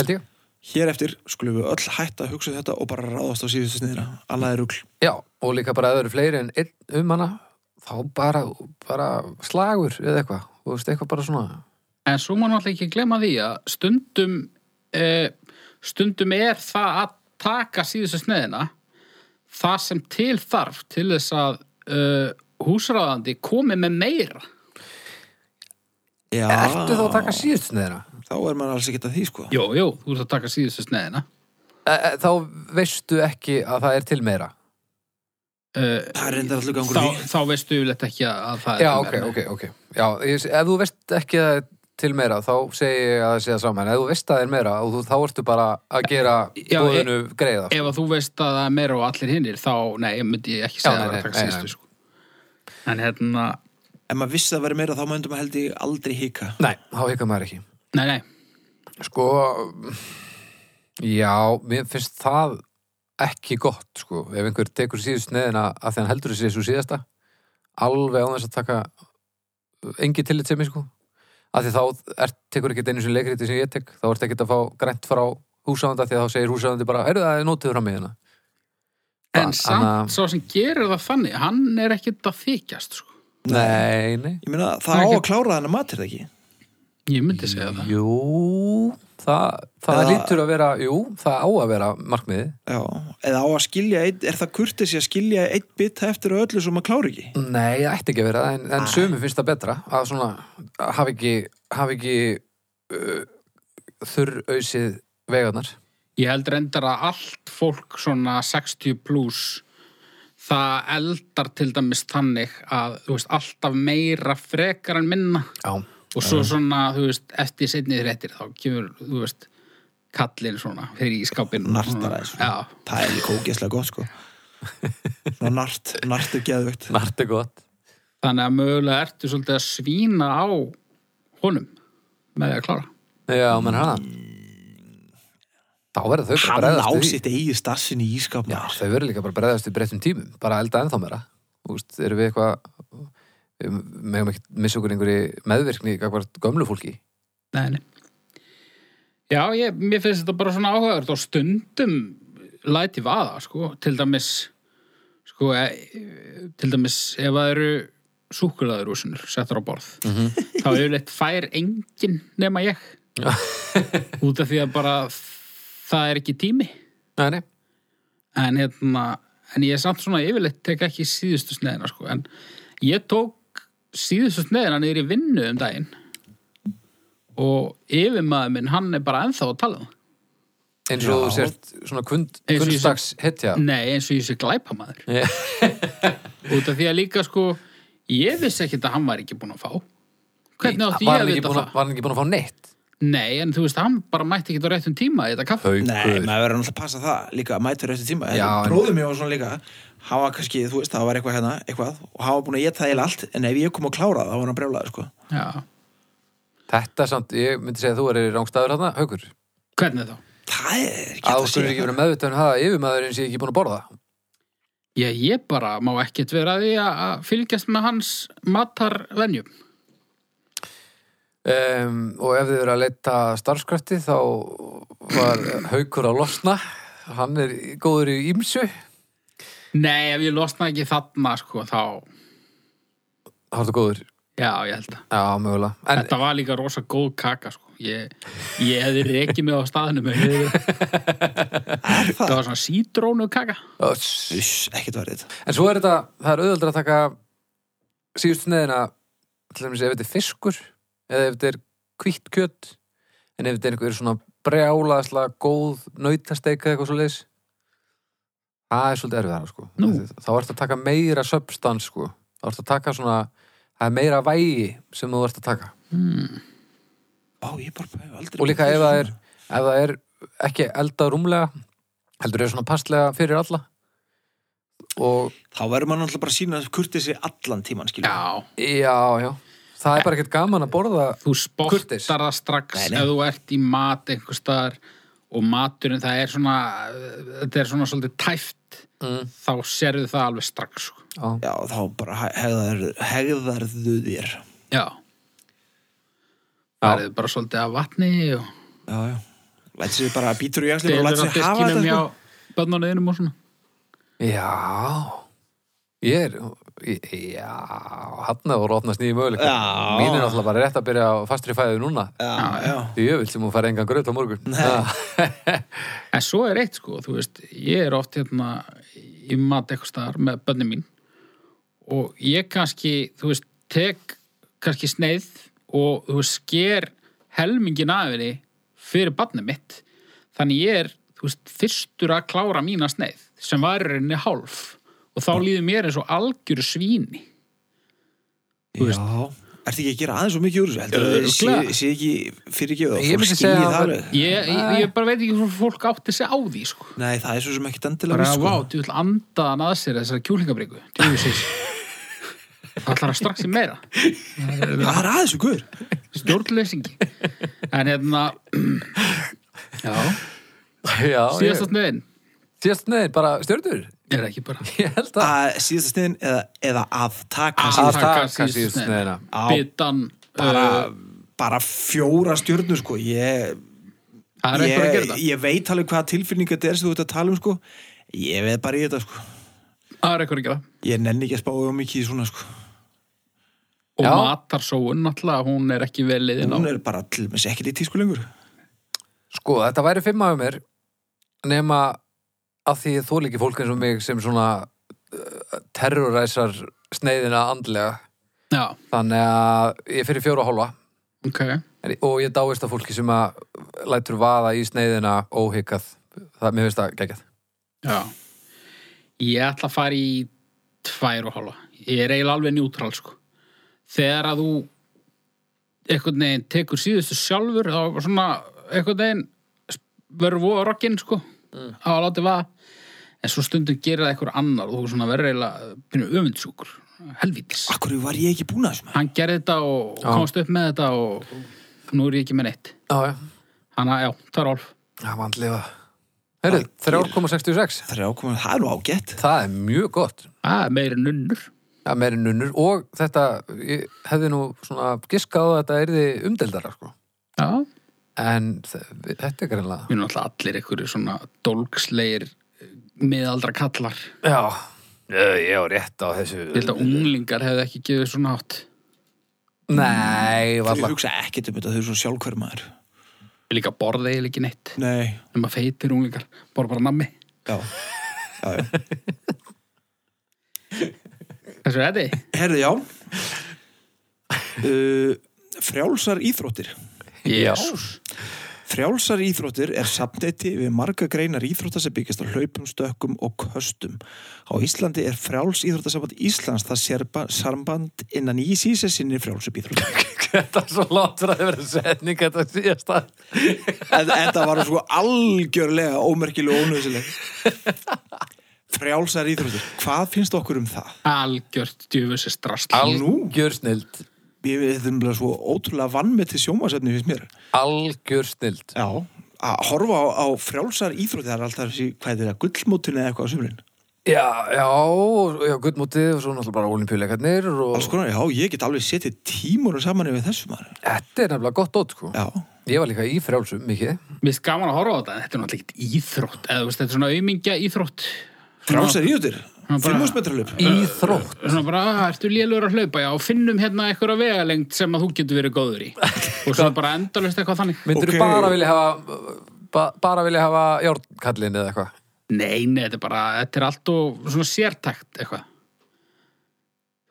[SPEAKER 1] Held ég?
[SPEAKER 3] Hér eftir skulum við öll hætta að hugsa um þetta og bara ráðast á síðustu sniðina. Alla er rugl.
[SPEAKER 1] Já, og líka bara að það eru fleiri en einn um hana þá bara, bara slagur eða eitthvað, þú veist, eitthvað bara svona
[SPEAKER 2] En svo má náttúrulega ekki glemma því að stundum eh, stundum er það að taka síðustu sneiðina það sem til þarf til þess að eh, húsráðandi komi með meira.
[SPEAKER 3] Já,
[SPEAKER 1] Ertu þá að taka síðust neðina?
[SPEAKER 3] Þá er maður alls ekki að því, sko.
[SPEAKER 2] Jó, jó, þú ert að taka síðustu sneiðina.
[SPEAKER 1] E, e, þá veistu ekki að það er til meira
[SPEAKER 2] Eh,
[SPEAKER 3] Það er reyndar allir gangur
[SPEAKER 2] þá,
[SPEAKER 3] í því.
[SPEAKER 2] þá veistu yfirleitt ekki að- að það er
[SPEAKER 1] Já,
[SPEAKER 2] til
[SPEAKER 1] ok,
[SPEAKER 2] meira.
[SPEAKER 1] ok, ok Já, ég, ef þú veist ekki að það er til meira þá segi ég að það sé það saman ef þú veist að það er meira og þú, þá ertu bara að gera
[SPEAKER 2] Já,
[SPEAKER 1] bóðinu greiða
[SPEAKER 2] Ef að þú veist að það er meira og allir hinnir þá, nei, ég myndi ég ekki
[SPEAKER 1] Já,
[SPEAKER 2] segja
[SPEAKER 1] nei,
[SPEAKER 2] að það
[SPEAKER 1] nei,
[SPEAKER 2] er að taka
[SPEAKER 1] nei, nei.
[SPEAKER 2] síðustu sko. En hérna,
[SPEAKER 3] Ef maður vissi að það veri meira, þá myndum maður held ég aldrei hika.
[SPEAKER 1] Nei, þá hekka maður ekki
[SPEAKER 2] nei, nei
[SPEAKER 1] Sko Já, mér finnst það ekki gott, sko ef einhver tekur síðust neðina að því hann heldur þessi svo síðasta alveg á þess að taka engi tillit sem ég, sko að því þá er, tekur ekkert einu sem leikriti sem ég tek þá ertu ekkert að fá grænt frá húsáðanda því að þá segir húsáðandi bara, heyrðu það er nótið fram í hérna
[SPEAKER 2] En
[SPEAKER 1] Ba- anna-
[SPEAKER 2] samt, svo sem gerir það þannig, hann er ekkert að þykjast sko.
[SPEAKER 1] Nei, nei
[SPEAKER 3] Ég meina, það,
[SPEAKER 2] Það
[SPEAKER 3] á
[SPEAKER 2] er
[SPEAKER 3] að
[SPEAKER 2] ekki-
[SPEAKER 3] klára þennan matur, ekki?
[SPEAKER 2] Ég myndi segja það.
[SPEAKER 1] Jú, það, það
[SPEAKER 3] Eða-
[SPEAKER 1] lítur að vera jú, það á að vera markmiði
[SPEAKER 3] Já, eða á að skilja, einn, er það kurtið sér að skilja einn bita eftir og öllu sem maður klára ekki?
[SPEAKER 1] Nei, það ætti ekki að vera það, en, en sömu finnst það betra að svona að hafa ekki, hafa ekki uh, þurrausið vegarnar
[SPEAKER 2] Ég held reyndar að allt fólk svona 60 pluss það eldar til dæmis þannig að, þú veist, alltaf meira frekar en minna
[SPEAKER 1] Já,
[SPEAKER 2] og svo svona, þú veist, eftir seinni réttir þá kemur, þú veist kallinn svona fyrir í skápinn
[SPEAKER 3] Nartar aðeins.
[SPEAKER 1] Mm.
[SPEAKER 2] Já,
[SPEAKER 3] Það er líka ógeðslega gott, sko. Svona nart, nart er geðvögt.
[SPEAKER 1] nart er gott
[SPEAKER 2] þannig að mögulega ertu svolítið að svína á honum með því að klára
[SPEAKER 1] Já, menn hann Þá verður þau bara að
[SPEAKER 3] Hann á
[SPEAKER 1] bregðast við því.
[SPEAKER 3] sitt eigið stassin í ískap,
[SPEAKER 1] Já,
[SPEAKER 3] maður.
[SPEAKER 1] þau verður líka bara að bregðast í breyttum tímum bara að elda ennþá meira Þú veist, erum við eitthvað við megum ekki missa okkur einhverju meðvirkni gagvart gömlu fólki
[SPEAKER 2] Nei, nei. Já, ég, mér finnst þetta bara svona áhugavert og stundum læti vaða, sko, til dæmis sko, e, til dæmis ef það eru súkulaðurúsinur settur á borð
[SPEAKER 3] Mhm.
[SPEAKER 2] þá yfirleitt fær enginn nema ég
[SPEAKER 1] Já.
[SPEAKER 2] út af því að bara það er ekki tími
[SPEAKER 1] Nei, nei,
[SPEAKER 2] en hérna en ég er samt svona yfirleitt tek ekki síðustu sneðina sko, en ég tók síðustu sneðina niður í vinnu um daginn og yfirmaður minn hann er bara ennþá að tala um það.
[SPEAKER 1] eins og þú
[SPEAKER 3] Já.
[SPEAKER 1] sért svona kund,
[SPEAKER 2] Eins og ég sé-
[SPEAKER 1] kundstags hetja
[SPEAKER 2] nei eins og ég sé glæpamaður
[SPEAKER 1] Já.
[SPEAKER 2] út af því að líka sko ég vissi ekkert að hann var ekki búinn að fá hvernig átti
[SPEAKER 1] Var
[SPEAKER 2] ég
[SPEAKER 1] hann
[SPEAKER 2] að
[SPEAKER 1] ekki
[SPEAKER 2] vita
[SPEAKER 1] búinn
[SPEAKER 2] það
[SPEAKER 1] að- Var hann ekki búin að fá neitt?
[SPEAKER 2] nei en þú veist hann bara mætti ekki á réttum tíma í þetta kaffi
[SPEAKER 3] Nei, maður verður náttúrulega að passa það líka að mæta eftir tíma.
[SPEAKER 1] Já, en-
[SPEAKER 3] Bróðum ég var svona líka, hann var kannski, þú veist, það var eitthvað hérna, eitthvað, og hann var búin að geta það eða allt, en ef ég kom að klára það, þá var hann brjólaður, sko.
[SPEAKER 2] já,
[SPEAKER 1] Þetta samt, ég myndi segja að þú er í rángstæður hérna, haukur.
[SPEAKER 2] hvernig þá
[SPEAKER 3] Það er ekki hægt
[SPEAKER 1] Að þú skurður ekki verið meðvitaðun það að yfirmaðurinn sé ekki búin að borða.
[SPEAKER 2] ég, ég bara má ekkert vera að því að- að fylgjast með hans matarvenjum
[SPEAKER 1] Um, og ef þið eru að leita starfskrafti þá var haukur að losna. Hann er í- góður í ímsu.
[SPEAKER 2] Nei, ef ég losna ekki þarna, sko, þá,
[SPEAKER 1] Háttu góður.
[SPEAKER 2] já, ég held að.
[SPEAKER 1] Já, mögulega. En
[SPEAKER 2] Þetta var líka rosa góð kaka, sko. Ég, ég hefði rekið mig á staðinu með hefði.
[SPEAKER 3] Er
[SPEAKER 2] Það
[SPEAKER 3] það?
[SPEAKER 2] var svona sítrónu kaka.
[SPEAKER 1] Öss.
[SPEAKER 3] Uss, ekkert verið.
[SPEAKER 1] En svo er þetta, það er auðveldur að taka síðust neðina til dæmis ef þetta er fiskur eða ef þetta er hvítt kjött en ef þetta er einhver svona brjálaðsla góð nautasteika eitthvað svo leis það er svolítið erfiðara sko
[SPEAKER 2] Nú.
[SPEAKER 1] þá ertu að taka meira substans sko þá ertu að taka svona það er meira vægi sem þú ert að taka
[SPEAKER 2] Hmm.
[SPEAKER 3] Ó, ég bara hef aldrei...
[SPEAKER 1] og líka
[SPEAKER 3] pælt
[SPEAKER 1] ef
[SPEAKER 3] í
[SPEAKER 1] það
[SPEAKER 3] svona.
[SPEAKER 1] er, ef það er ekki eldað rúmlega heldur er svona passlega fyrir alla og
[SPEAKER 3] Þá verður maður náttúrulega bara að sína kurtið sér allan tíman, skilur.
[SPEAKER 2] Já,
[SPEAKER 1] já, já það er bara ekkert gaman að borða
[SPEAKER 2] þú spottar
[SPEAKER 1] Kurteis.
[SPEAKER 2] það strax
[SPEAKER 3] Nei, nei.
[SPEAKER 2] ef þú ert í mat einhver staðar og maturinn, það er svona, þetta er svona svolítið tæft,
[SPEAKER 1] Mm.
[SPEAKER 2] þá sérðu það alveg strax, sko.
[SPEAKER 1] Já,
[SPEAKER 3] Já, þá bara he- hegðar, hegðarðu þér.
[SPEAKER 2] Já. Það er bara svolítið af vatni og
[SPEAKER 3] Já, já. Lætt sér bara býtur í jaksli og
[SPEAKER 2] deilur
[SPEAKER 3] lætt
[SPEAKER 2] á
[SPEAKER 3] sér hafa sko.
[SPEAKER 2] diskinum
[SPEAKER 3] þetta,
[SPEAKER 2] hjá
[SPEAKER 3] sko.
[SPEAKER 2] bönnunum og svona.
[SPEAKER 1] já. Ég er Já, hann hefur opnast nýjum möguleika
[SPEAKER 3] Já.
[SPEAKER 1] Mín er náttúrulega bara rétt að byrja á fastri fæðu núna
[SPEAKER 3] já, já.
[SPEAKER 1] Því jöfull sem hún fær engan gröð á morgun Ah. Ha.
[SPEAKER 2] En svo er eitt sko, þú veist, ég er oft hérna í mat eitthvað staðar með bönni mín og ég kannski, þú veist, tek kannski sneið og þú veist, sker helmingin af henni fyrir barnið mitt. Þannig ég er, þú veist, fyrstur að klára mína sneið sem var í rauninni hálf og þá líður mér eins og algjöru svíni. Þú veist.
[SPEAKER 3] Ertu ekki að gera aðeins svo mikið úr þessu? Heldur
[SPEAKER 2] Örugglega.
[SPEAKER 3] þú sé, sé ekki fyrirgefið og
[SPEAKER 1] Ég
[SPEAKER 3] fólk
[SPEAKER 1] myndi
[SPEAKER 3] skilji
[SPEAKER 1] segja að
[SPEAKER 3] það?
[SPEAKER 1] það-
[SPEAKER 2] Ég, ég, ég bara veit ekki hvort fólk átti sig á því, sko.
[SPEAKER 3] Nei, það er svo sem ekkit endilega
[SPEAKER 2] bara
[SPEAKER 3] víst,
[SPEAKER 2] vá, þú vil anda hann að sér þessar kjúlingabriku það ætlar að strax í meira
[SPEAKER 3] Hvað er aðeins og guður?
[SPEAKER 2] stjórnleysingi en hérna já,
[SPEAKER 1] Já,
[SPEAKER 2] síðast að snöðin
[SPEAKER 1] síðast neðin, bara stjörnur
[SPEAKER 2] er það ekki bara
[SPEAKER 1] Ég held að
[SPEAKER 3] Að síðasta sniðin eða, eða að taka
[SPEAKER 2] Að
[SPEAKER 3] síðasta
[SPEAKER 2] taka síðustu
[SPEAKER 1] síðast
[SPEAKER 2] sneiðina.
[SPEAKER 1] neðina
[SPEAKER 3] Á,
[SPEAKER 2] bitan
[SPEAKER 3] bara,
[SPEAKER 2] uh,
[SPEAKER 3] bara fjóra stjörnur sko ég,
[SPEAKER 2] það er eitthvað að
[SPEAKER 3] ég,
[SPEAKER 2] gera það
[SPEAKER 3] ég veit alveg hvaða tilfinninga þetta er sem þú ert að tala um sko ég veð bara í þetta sko
[SPEAKER 2] það er eitthvað að gera
[SPEAKER 3] ég nenni ekki að spá um mikið í svona sko
[SPEAKER 2] og
[SPEAKER 1] Já.
[SPEAKER 2] matarsóun náttúrulega, hún er ekki vel liðin á
[SPEAKER 3] hún er bara til með ekkert í tísku lengur
[SPEAKER 1] Sko, þetta væri fimm af mér nema að því þú líki fólk eins og mig sem svona uh, terroræsar sneiðina andlega
[SPEAKER 2] já,
[SPEAKER 1] þannig að ég er fyrir fjóra og hálfa
[SPEAKER 2] ok
[SPEAKER 1] en, og ég dáist að fólki sem að lætur vaða í sneiðina óhyggað það mér finnst það geggjað
[SPEAKER 2] já. ég ætla að fara í tvær og hálfa ég er eiginlega alveg njútrál sko þegar að þú einhvern veginn tekur síðustu sjálfur þá var svona einhvern veginn verður voða rokkinn sko á að láti vaða en svo stundum gerir það einhver annar og þú svona verður eiginlega byrjum öfundsjúkur helvítis
[SPEAKER 3] akkur var ég ekki búin að þessum
[SPEAKER 2] hann gerði þetta og
[SPEAKER 1] Já.
[SPEAKER 2] komst upp með þetta og nú er ég ekki með neitt
[SPEAKER 1] Já, já,
[SPEAKER 2] hann að já, það er álf
[SPEAKER 1] það var andlega Heyrðu, 3,66
[SPEAKER 3] það er ákomið, það er nú ágætt
[SPEAKER 1] Það er mjög gott
[SPEAKER 2] það er meira Ah, nunnur
[SPEAKER 1] að meiri nunnur og þetta ég hefði nú svona giskað á að þetta erði umdeldara sko
[SPEAKER 2] já,
[SPEAKER 1] en þe- þetta er greinlega
[SPEAKER 2] við erum alltaf allir einhverju svona dólgslegir eh, miðaldra kallar
[SPEAKER 1] Já, ég á rétt á þessu
[SPEAKER 2] ég held að unglingar hefði ekki gefið svona hátt
[SPEAKER 1] Nei,
[SPEAKER 3] ég
[SPEAKER 1] varla
[SPEAKER 3] hugsa ekkert um þetta, þau eru svona sjálfhver maður
[SPEAKER 2] Við líka borðið eða ekki neitt
[SPEAKER 3] nei,
[SPEAKER 2] en maður feitir unglingar, borð bara nammi
[SPEAKER 3] já, já, já.
[SPEAKER 2] þessu er þetta
[SPEAKER 3] herðu já uh, frjálsar íþróttir
[SPEAKER 2] Jésús.
[SPEAKER 3] Frjálsar íþróttir er samneiti við marga greinar íþrótta sem byggjast á hlaupum, stökkum og köstum. Á Íslandi er frjáls íþróttasamband Íslands það sérba, samband innan í síse sinni frjálsup íþróttir.
[SPEAKER 1] Þetta er svo láttur að það verið setning þetta síðasta
[SPEAKER 3] Þetta var sko algjörlega ómerkileg og ónöðsileg. Frjálsar íþróttir. Hvað finnst okkur um það?
[SPEAKER 2] algjört djöfusi strast
[SPEAKER 1] Algjör snild
[SPEAKER 3] Ég veit þetta er nefnilega svo ótrúlega vannmeti sjómasefni finnst mér.
[SPEAKER 1] Algjör snild
[SPEAKER 3] Já. Að horfa á, á frjálsar íþróttir það er alltaf þessi, hvað er það, gullmótun eða eitthvað á sumrin?
[SPEAKER 1] Já, já, og- já, guttmótið og svo náttúrulega bara olimpíuleikarnir og
[SPEAKER 3] Alls konar, já, ég get alveg setið tímunum saman yfir þessu maður.
[SPEAKER 1] þetta er nefnilega gott dót sko
[SPEAKER 3] Já,
[SPEAKER 1] Ég var líka í frjálsum, mikið
[SPEAKER 2] Mér finnst gaman að horfa á þetta, en þetta er náttúrulega ekkert íþrótt eða þú veist, þetta er svona auðmingja íþrótt
[SPEAKER 3] frálsar íðutir,
[SPEAKER 2] bara-
[SPEAKER 3] fimmúsmetralöp.
[SPEAKER 1] Íþrótt
[SPEAKER 2] svona bara, "Ah, ertu lélur að hlaupa, já, finnum hérna einhverja vegalengt sem að þú getur verið góður í og svo bara endalust eitthvað þannig
[SPEAKER 1] Myndirðu
[SPEAKER 3] Ok.
[SPEAKER 1] bara vilja hafa ba, bara vilja hafa járnkallin eða eitthvað
[SPEAKER 2] Nei, nei, þetta er bara, þetta er allt og svona sértækt eitthvað.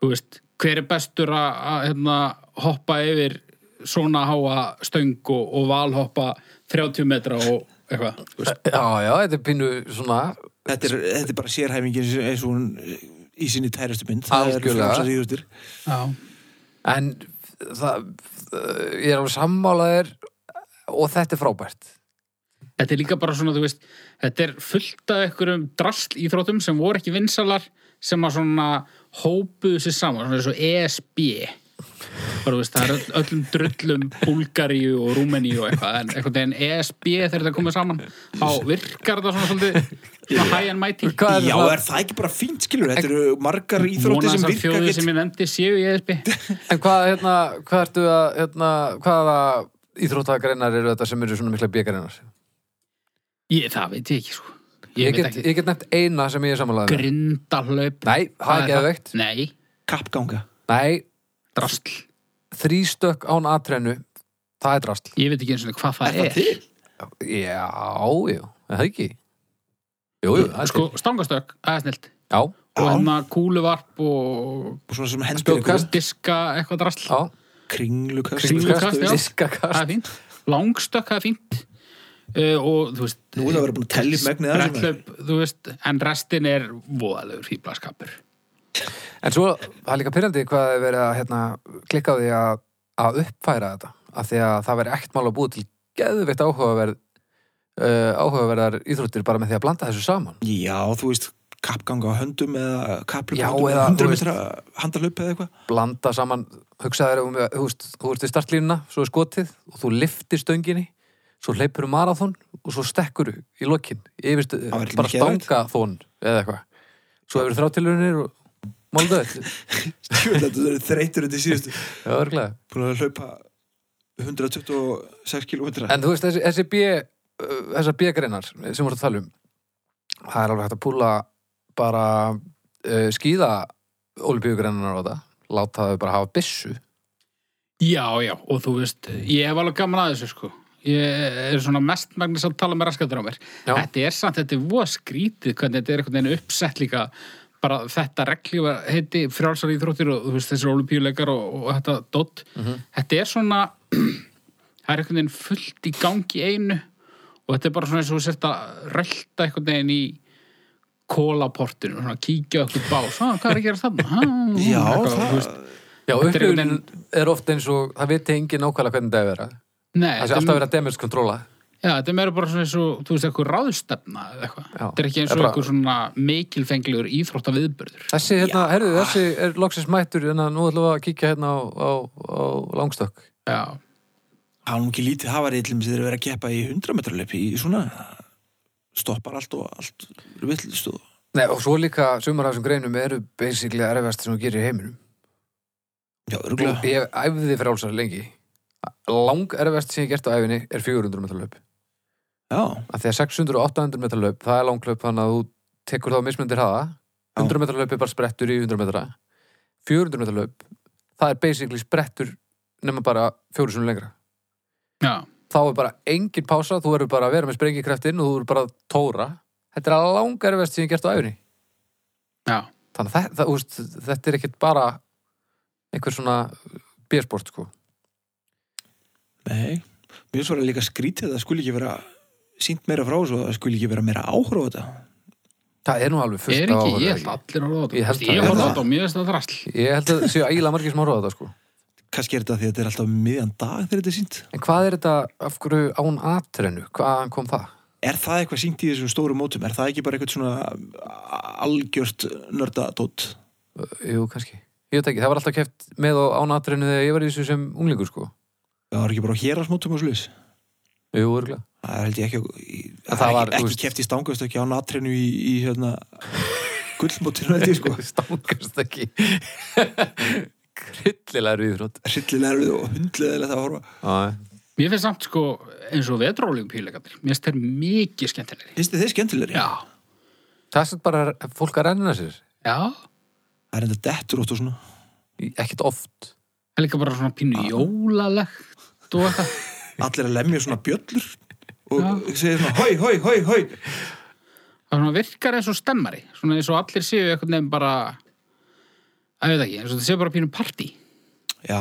[SPEAKER 2] Þú veist, hver er bestur að, að hérna, hoppa yfir svona háa stöng og, og valhoppa 30 metra og eitthvað. þú veist.
[SPEAKER 1] Já, já, þetta er pínu svona
[SPEAKER 3] Þetta er, þetta er bara sérhæfingin sem- eins og hún eh, í sinni tæristu mynd. Það eru
[SPEAKER 1] Algjörlega.
[SPEAKER 3] frjálsar íðutir.
[SPEAKER 2] Já.
[SPEAKER 1] en það, eh, ég er alveg sammálaðir og þetta er frábært
[SPEAKER 2] Þetta er líka bara svona, þú veist, þetta er fullt af einhverjum drasl íþróttum sem voru ekki vinsalar sem að svona hópuðu sér saman, svona eins og ESB. Bara, þú veist, það er öll- öllum drullum Búlgaríu og Rúmeníu og eitthvað, en einhvern veginn ESB þegar þetta komið saman, þá virkar þetta svona svolítið svona high and mighty.
[SPEAKER 1] Hvað er
[SPEAKER 3] Já,
[SPEAKER 1] það-
[SPEAKER 3] er það ekki bara fínt, skilur? Þetta eru margar íþróttir
[SPEAKER 2] Vona
[SPEAKER 3] sem
[SPEAKER 2] þessar
[SPEAKER 3] virka
[SPEAKER 2] þjóðir
[SPEAKER 3] ekkert.
[SPEAKER 2] sem ég nefndi séu í E ESB.
[SPEAKER 1] En hvað, hérna, hvað ertu að hérna, hvaða íþróttagreinar eru þetta sem eru svona mikla bjögreinar?
[SPEAKER 2] Ég, það veit ég ekki, sko. Ég,
[SPEAKER 1] Ég,
[SPEAKER 2] veit
[SPEAKER 1] get-
[SPEAKER 2] ekki.
[SPEAKER 1] ég get nefnt eina sem ég er sammálaðið
[SPEAKER 2] Grindahlaup.
[SPEAKER 1] Nei, það er
[SPEAKER 2] Hvað
[SPEAKER 1] geðveikt.
[SPEAKER 2] Nei,
[SPEAKER 3] kappganga
[SPEAKER 1] Nei,
[SPEAKER 2] drastl.
[SPEAKER 1] þrýstökk án atrennu, það er drasl.
[SPEAKER 2] Ég veit ekki eins og hvað það er.
[SPEAKER 3] til?
[SPEAKER 1] Já, já, er það ekki? Jú, jú, það er
[SPEAKER 2] Sko, stangastökk, það er snilt.
[SPEAKER 1] til. Já,
[SPEAKER 3] Já.
[SPEAKER 2] Og hérna kúluvarp og
[SPEAKER 3] Og svona sem hendur
[SPEAKER 1] Spjótkast.
[SPEAKER 2] diska eitthvað drastl.
[SPEAKER 1] já.
[SPEAKER 3] Kringlukast
[SPEAKER 2] Kringlukast,
[SPEAKER 3] þú
[SPEAKER 2] já.
[SPEAKER 3] veist.
[SPEAKER 2] Það
[SPEAKER 1] Diskakast.
[SPEAKER 2] er fínt. Langstökk, það er fínt. Uh, og þú veist
[SPEAKER 3] Nú er það að vera búin að telja upp megnið af þessu,
[SPEAKER 2] Bretthlaup, þú veist, en restin er voðalegur fýblaskapur
[SPEAKER 1] En svo, það er líka pyrrandi hvað er verið að hérna, klikka á því að, að uppfæra þetta. Af því að það verið ekkert mál að búið til geðveitt áhugaverð, uh, áhugaverðar íþróttir bara með því að blanda þessu saman.
[SPEAKER 3] Já, þú veist kappganga á höndum eða kapplöp
[SPEAKER 1] Já,
[SPEAKER 3] á höndum,
[SPEAKER 1] eða,
[SPEAKER 3] 100
[SPEAKER 1] þú
[SPEAKER 3] metra handalöp eða eitthvað
[SPEAKER 1] Blanda saman, hugsaður um, þú veist, þú ert við startlínuna, svo er skotið og þú liftir stönginni, svo hleypur um marathon og svo stekkur í lokin. Yfirst,
[SPEAKER 3] Það væri
[SPEAKER 1] bara
[SPEAKER 3] mikið geðveikt.
[SPEAKER 1] stanga þón eða eitthvað. Svo hefur þráttilunir og málduð.
[SPEAKER 3] Tjóðlega, þú eru þreytur undir síðustu
[SPEAKER 1] Já, örglega.
[SPEAKER 3] Búin að hlaupa 126 kilometra
[SPEAKER 1] En þú veist, þessi, þessi B, uh, þessar B-greinar sem voru að tala um, það er alveg hægt að púla bara uh, skýða olimpíugreinar á þetta, láta þau bara hafa byssu.
[SPEAKER 2] Já, já, og þú veist ég hef alveg gaman að þessu sko ég er svona mest magnis að tala með raskatur á mér
[SPEAKER 1] Já.
[SPEAKER 2] Þetta er samt, þetta er voða skrítið hvernig þetta er einhvern veginn uppsett líka bara þetta regli var heiti frjálsar íþróttir og þú veist þessi olimpíuleikar og, og þetta dott Þetta er svona það er einhvern veginn fullt í gangi í einu og þetta er bara svona eins og þú sért að rölda einhvern veginn í kólaportinu, svona kíkja okkur bá svona, hvað er að gera þarna? Ha,
[SPEAKER 3] Já,
[SPEAKER 2] eitthvað, þú
[SPEAKER 3] það
[SPEAKER 2] veist.
[SPEAKER 1] Já,
[SPEAKER 2] Þetta er
[SPEAKER 1] upplifunin
[SPEAKER 2] einhvern
[SPEAKER 1] er ofta eins og það viti engin nákvæmlega hvernig það er vera.
[SPEAKER 2] Nei,
[SPEAKER 1] Það
[SPEAKER 2] þetta
[SPEAKER 1] sé
[SPEAKER 2] er
[SPEAKER 1] alltaf verið að damage controla.
[SPEAKER 2] Já, þetta er meira bara svona eins og, þú veist, eitthvað ráðstefna eða eitthvað.
[SPEAKER 1] Já.
[SPEAKER 2] Þetta er ekki eins
[SPEAKER 1] Er
[SPEAKER 2] og
[SPEAKER 1] bara-
[SPEAKER 2] eitthvað svona mikilfenglegur íþrótta viðbörður.
[SPEAKER 1] Þessi, hérna, herðu, þessi er loksins mættur, en nú ætlum við að kíkja hérna á, á, á langstökk.
[SPEAKER 2] Já,
[SPEAKER 3] Það er nú ekki lítið hafarillum sem þeir eru verið að keppa í 100 metra löp í svona stoppar allt og allt villist og
[SPEAKER 1] Nei, og svo líka sumar af þessum greinum eru basically erfast sem þú gerir í heiminum.
[SPEAKER 3] já,
[SPEAKER 1] Og
[SPEAKER 3] örgulega
[SPEAKER 1] Ég æfði frálsar lengi Lang erfest sem ég gert á æfinni er 400 metra löp
[SPEAKER 3] Já,
[SPEAKER 1] að Því að 600 og 800 metra löp það er langlöp þannig að þú tekur þá mismundir hafa 100 metra löp er bara sprettur í 100 metra 400 metra löp það er basically sprettur nema bara fjóru sem lengra
[SPEAKER 2] já,
[SPEAKER 1] þá er bara engin pása, þú verður bara að vera með sprengikraftin og þú verður bara að tóra Þetta er lang erfest sem ég gert á æfinni
[SPEAKER 2] já.
[SPEAKER 1] Þannig að þetta, úst, þetta er ekkert bara einhver svona bérsport sko
[SPEAKER 3] nei Mér svo er líka skrítið að það skuli ekki vera sínt meira frá þessu og það skuli ekki vera meira áhróð þetta
[SPEAKER 1] Það er nú alveg fullt
[SPEAKER 2] er
[SPEAKER 1] af
[SPEAKER 2] ekki,
[SPEAKER 1] áhorfendum,
[SPEAKER 2] ég held allir að
[SPEAKER 1] Ég held
[SPEAKER 2] ráða þetta.
[SPEAKER 1] það, ég
[SPEAKER 2] Ég held
[SPEAKER 1] held
[SPEAKER 2] þetta og mjög veist að drasl.
[SPEAKER 1] Ég held að það séu ægilega margir sem horfa á þetta sko.
[SPEAKER 3] Kannski er þetta því að þetta er alltaf um miðjan dag þegar þetta er sínt
[SPEAKER 1] En hvað er þetta af hverju án atrennu? Hvaðan kom það?
[SPEAKER 3] Er það eitthvað sínt í þessum stóru mótum? Er það ekki bara eitthvað svona algjört nördatótt?
[SPEAKER 1] Jú, kannski. Ég veit ekki, það var alltaf keft með og án atrennu þegar ég var í þessu sem unglingur sko.
[SPEAKER 3] Það var ekki bara á hérasmótum og slis
[SPEAKER 1] Jú, örgulega.
[SPEAKER 3] Það er held ég ekki, í,
[SPEAKER 1] Það
[SPEAKER 3] það
[SPEAKER 1] var,
[SPEAKER 3] var, ekki,
[SPEAKER 1] þú
[SPEAKER 3] ekki
[SPEAKER 1] veist-
[SPEAKER 3] keft í stangast ekki á natrinu í, í hérna, gullmótinu held ég sko
[SPEAKER 1] Stangast ekki. Kryllilega rýðrótt.
[SPEAKER 3] hryllilega og hundlega það horfa
[SPEAKER 2] Mér finnst samt sko eins og vetrólingpílegatir. Mér finnst þeir mikið skemmtilegri.
[SPEAKER 3] finnst þið þeir skemmtilegri?
[SPEAKER 2] Já,
[SPEAKER 1] Það er samt bara fólk að renna sér.
[SPEAKER 2] já.
[SPEAKER 3] það er enda dettur ótt og svona
[SPEAKER 1] Ekkert oft.
[SPEAKER 2] Það er líka bara svona pínu jólalegt og eitthvað.
[SPEAKER 3] allir að lemja svona bjöllur
[SPEAKER 2] Já.
[SPEAKER 3] og segja svona hoi, hoi, hoi, hoi
[SPEAKER 2] það svona virkar eins og stemmari svona eins og allir séu eitthvað nefn bara að veit ekki, eins og það séu bara pínu partí
[SPEAKER 3] já,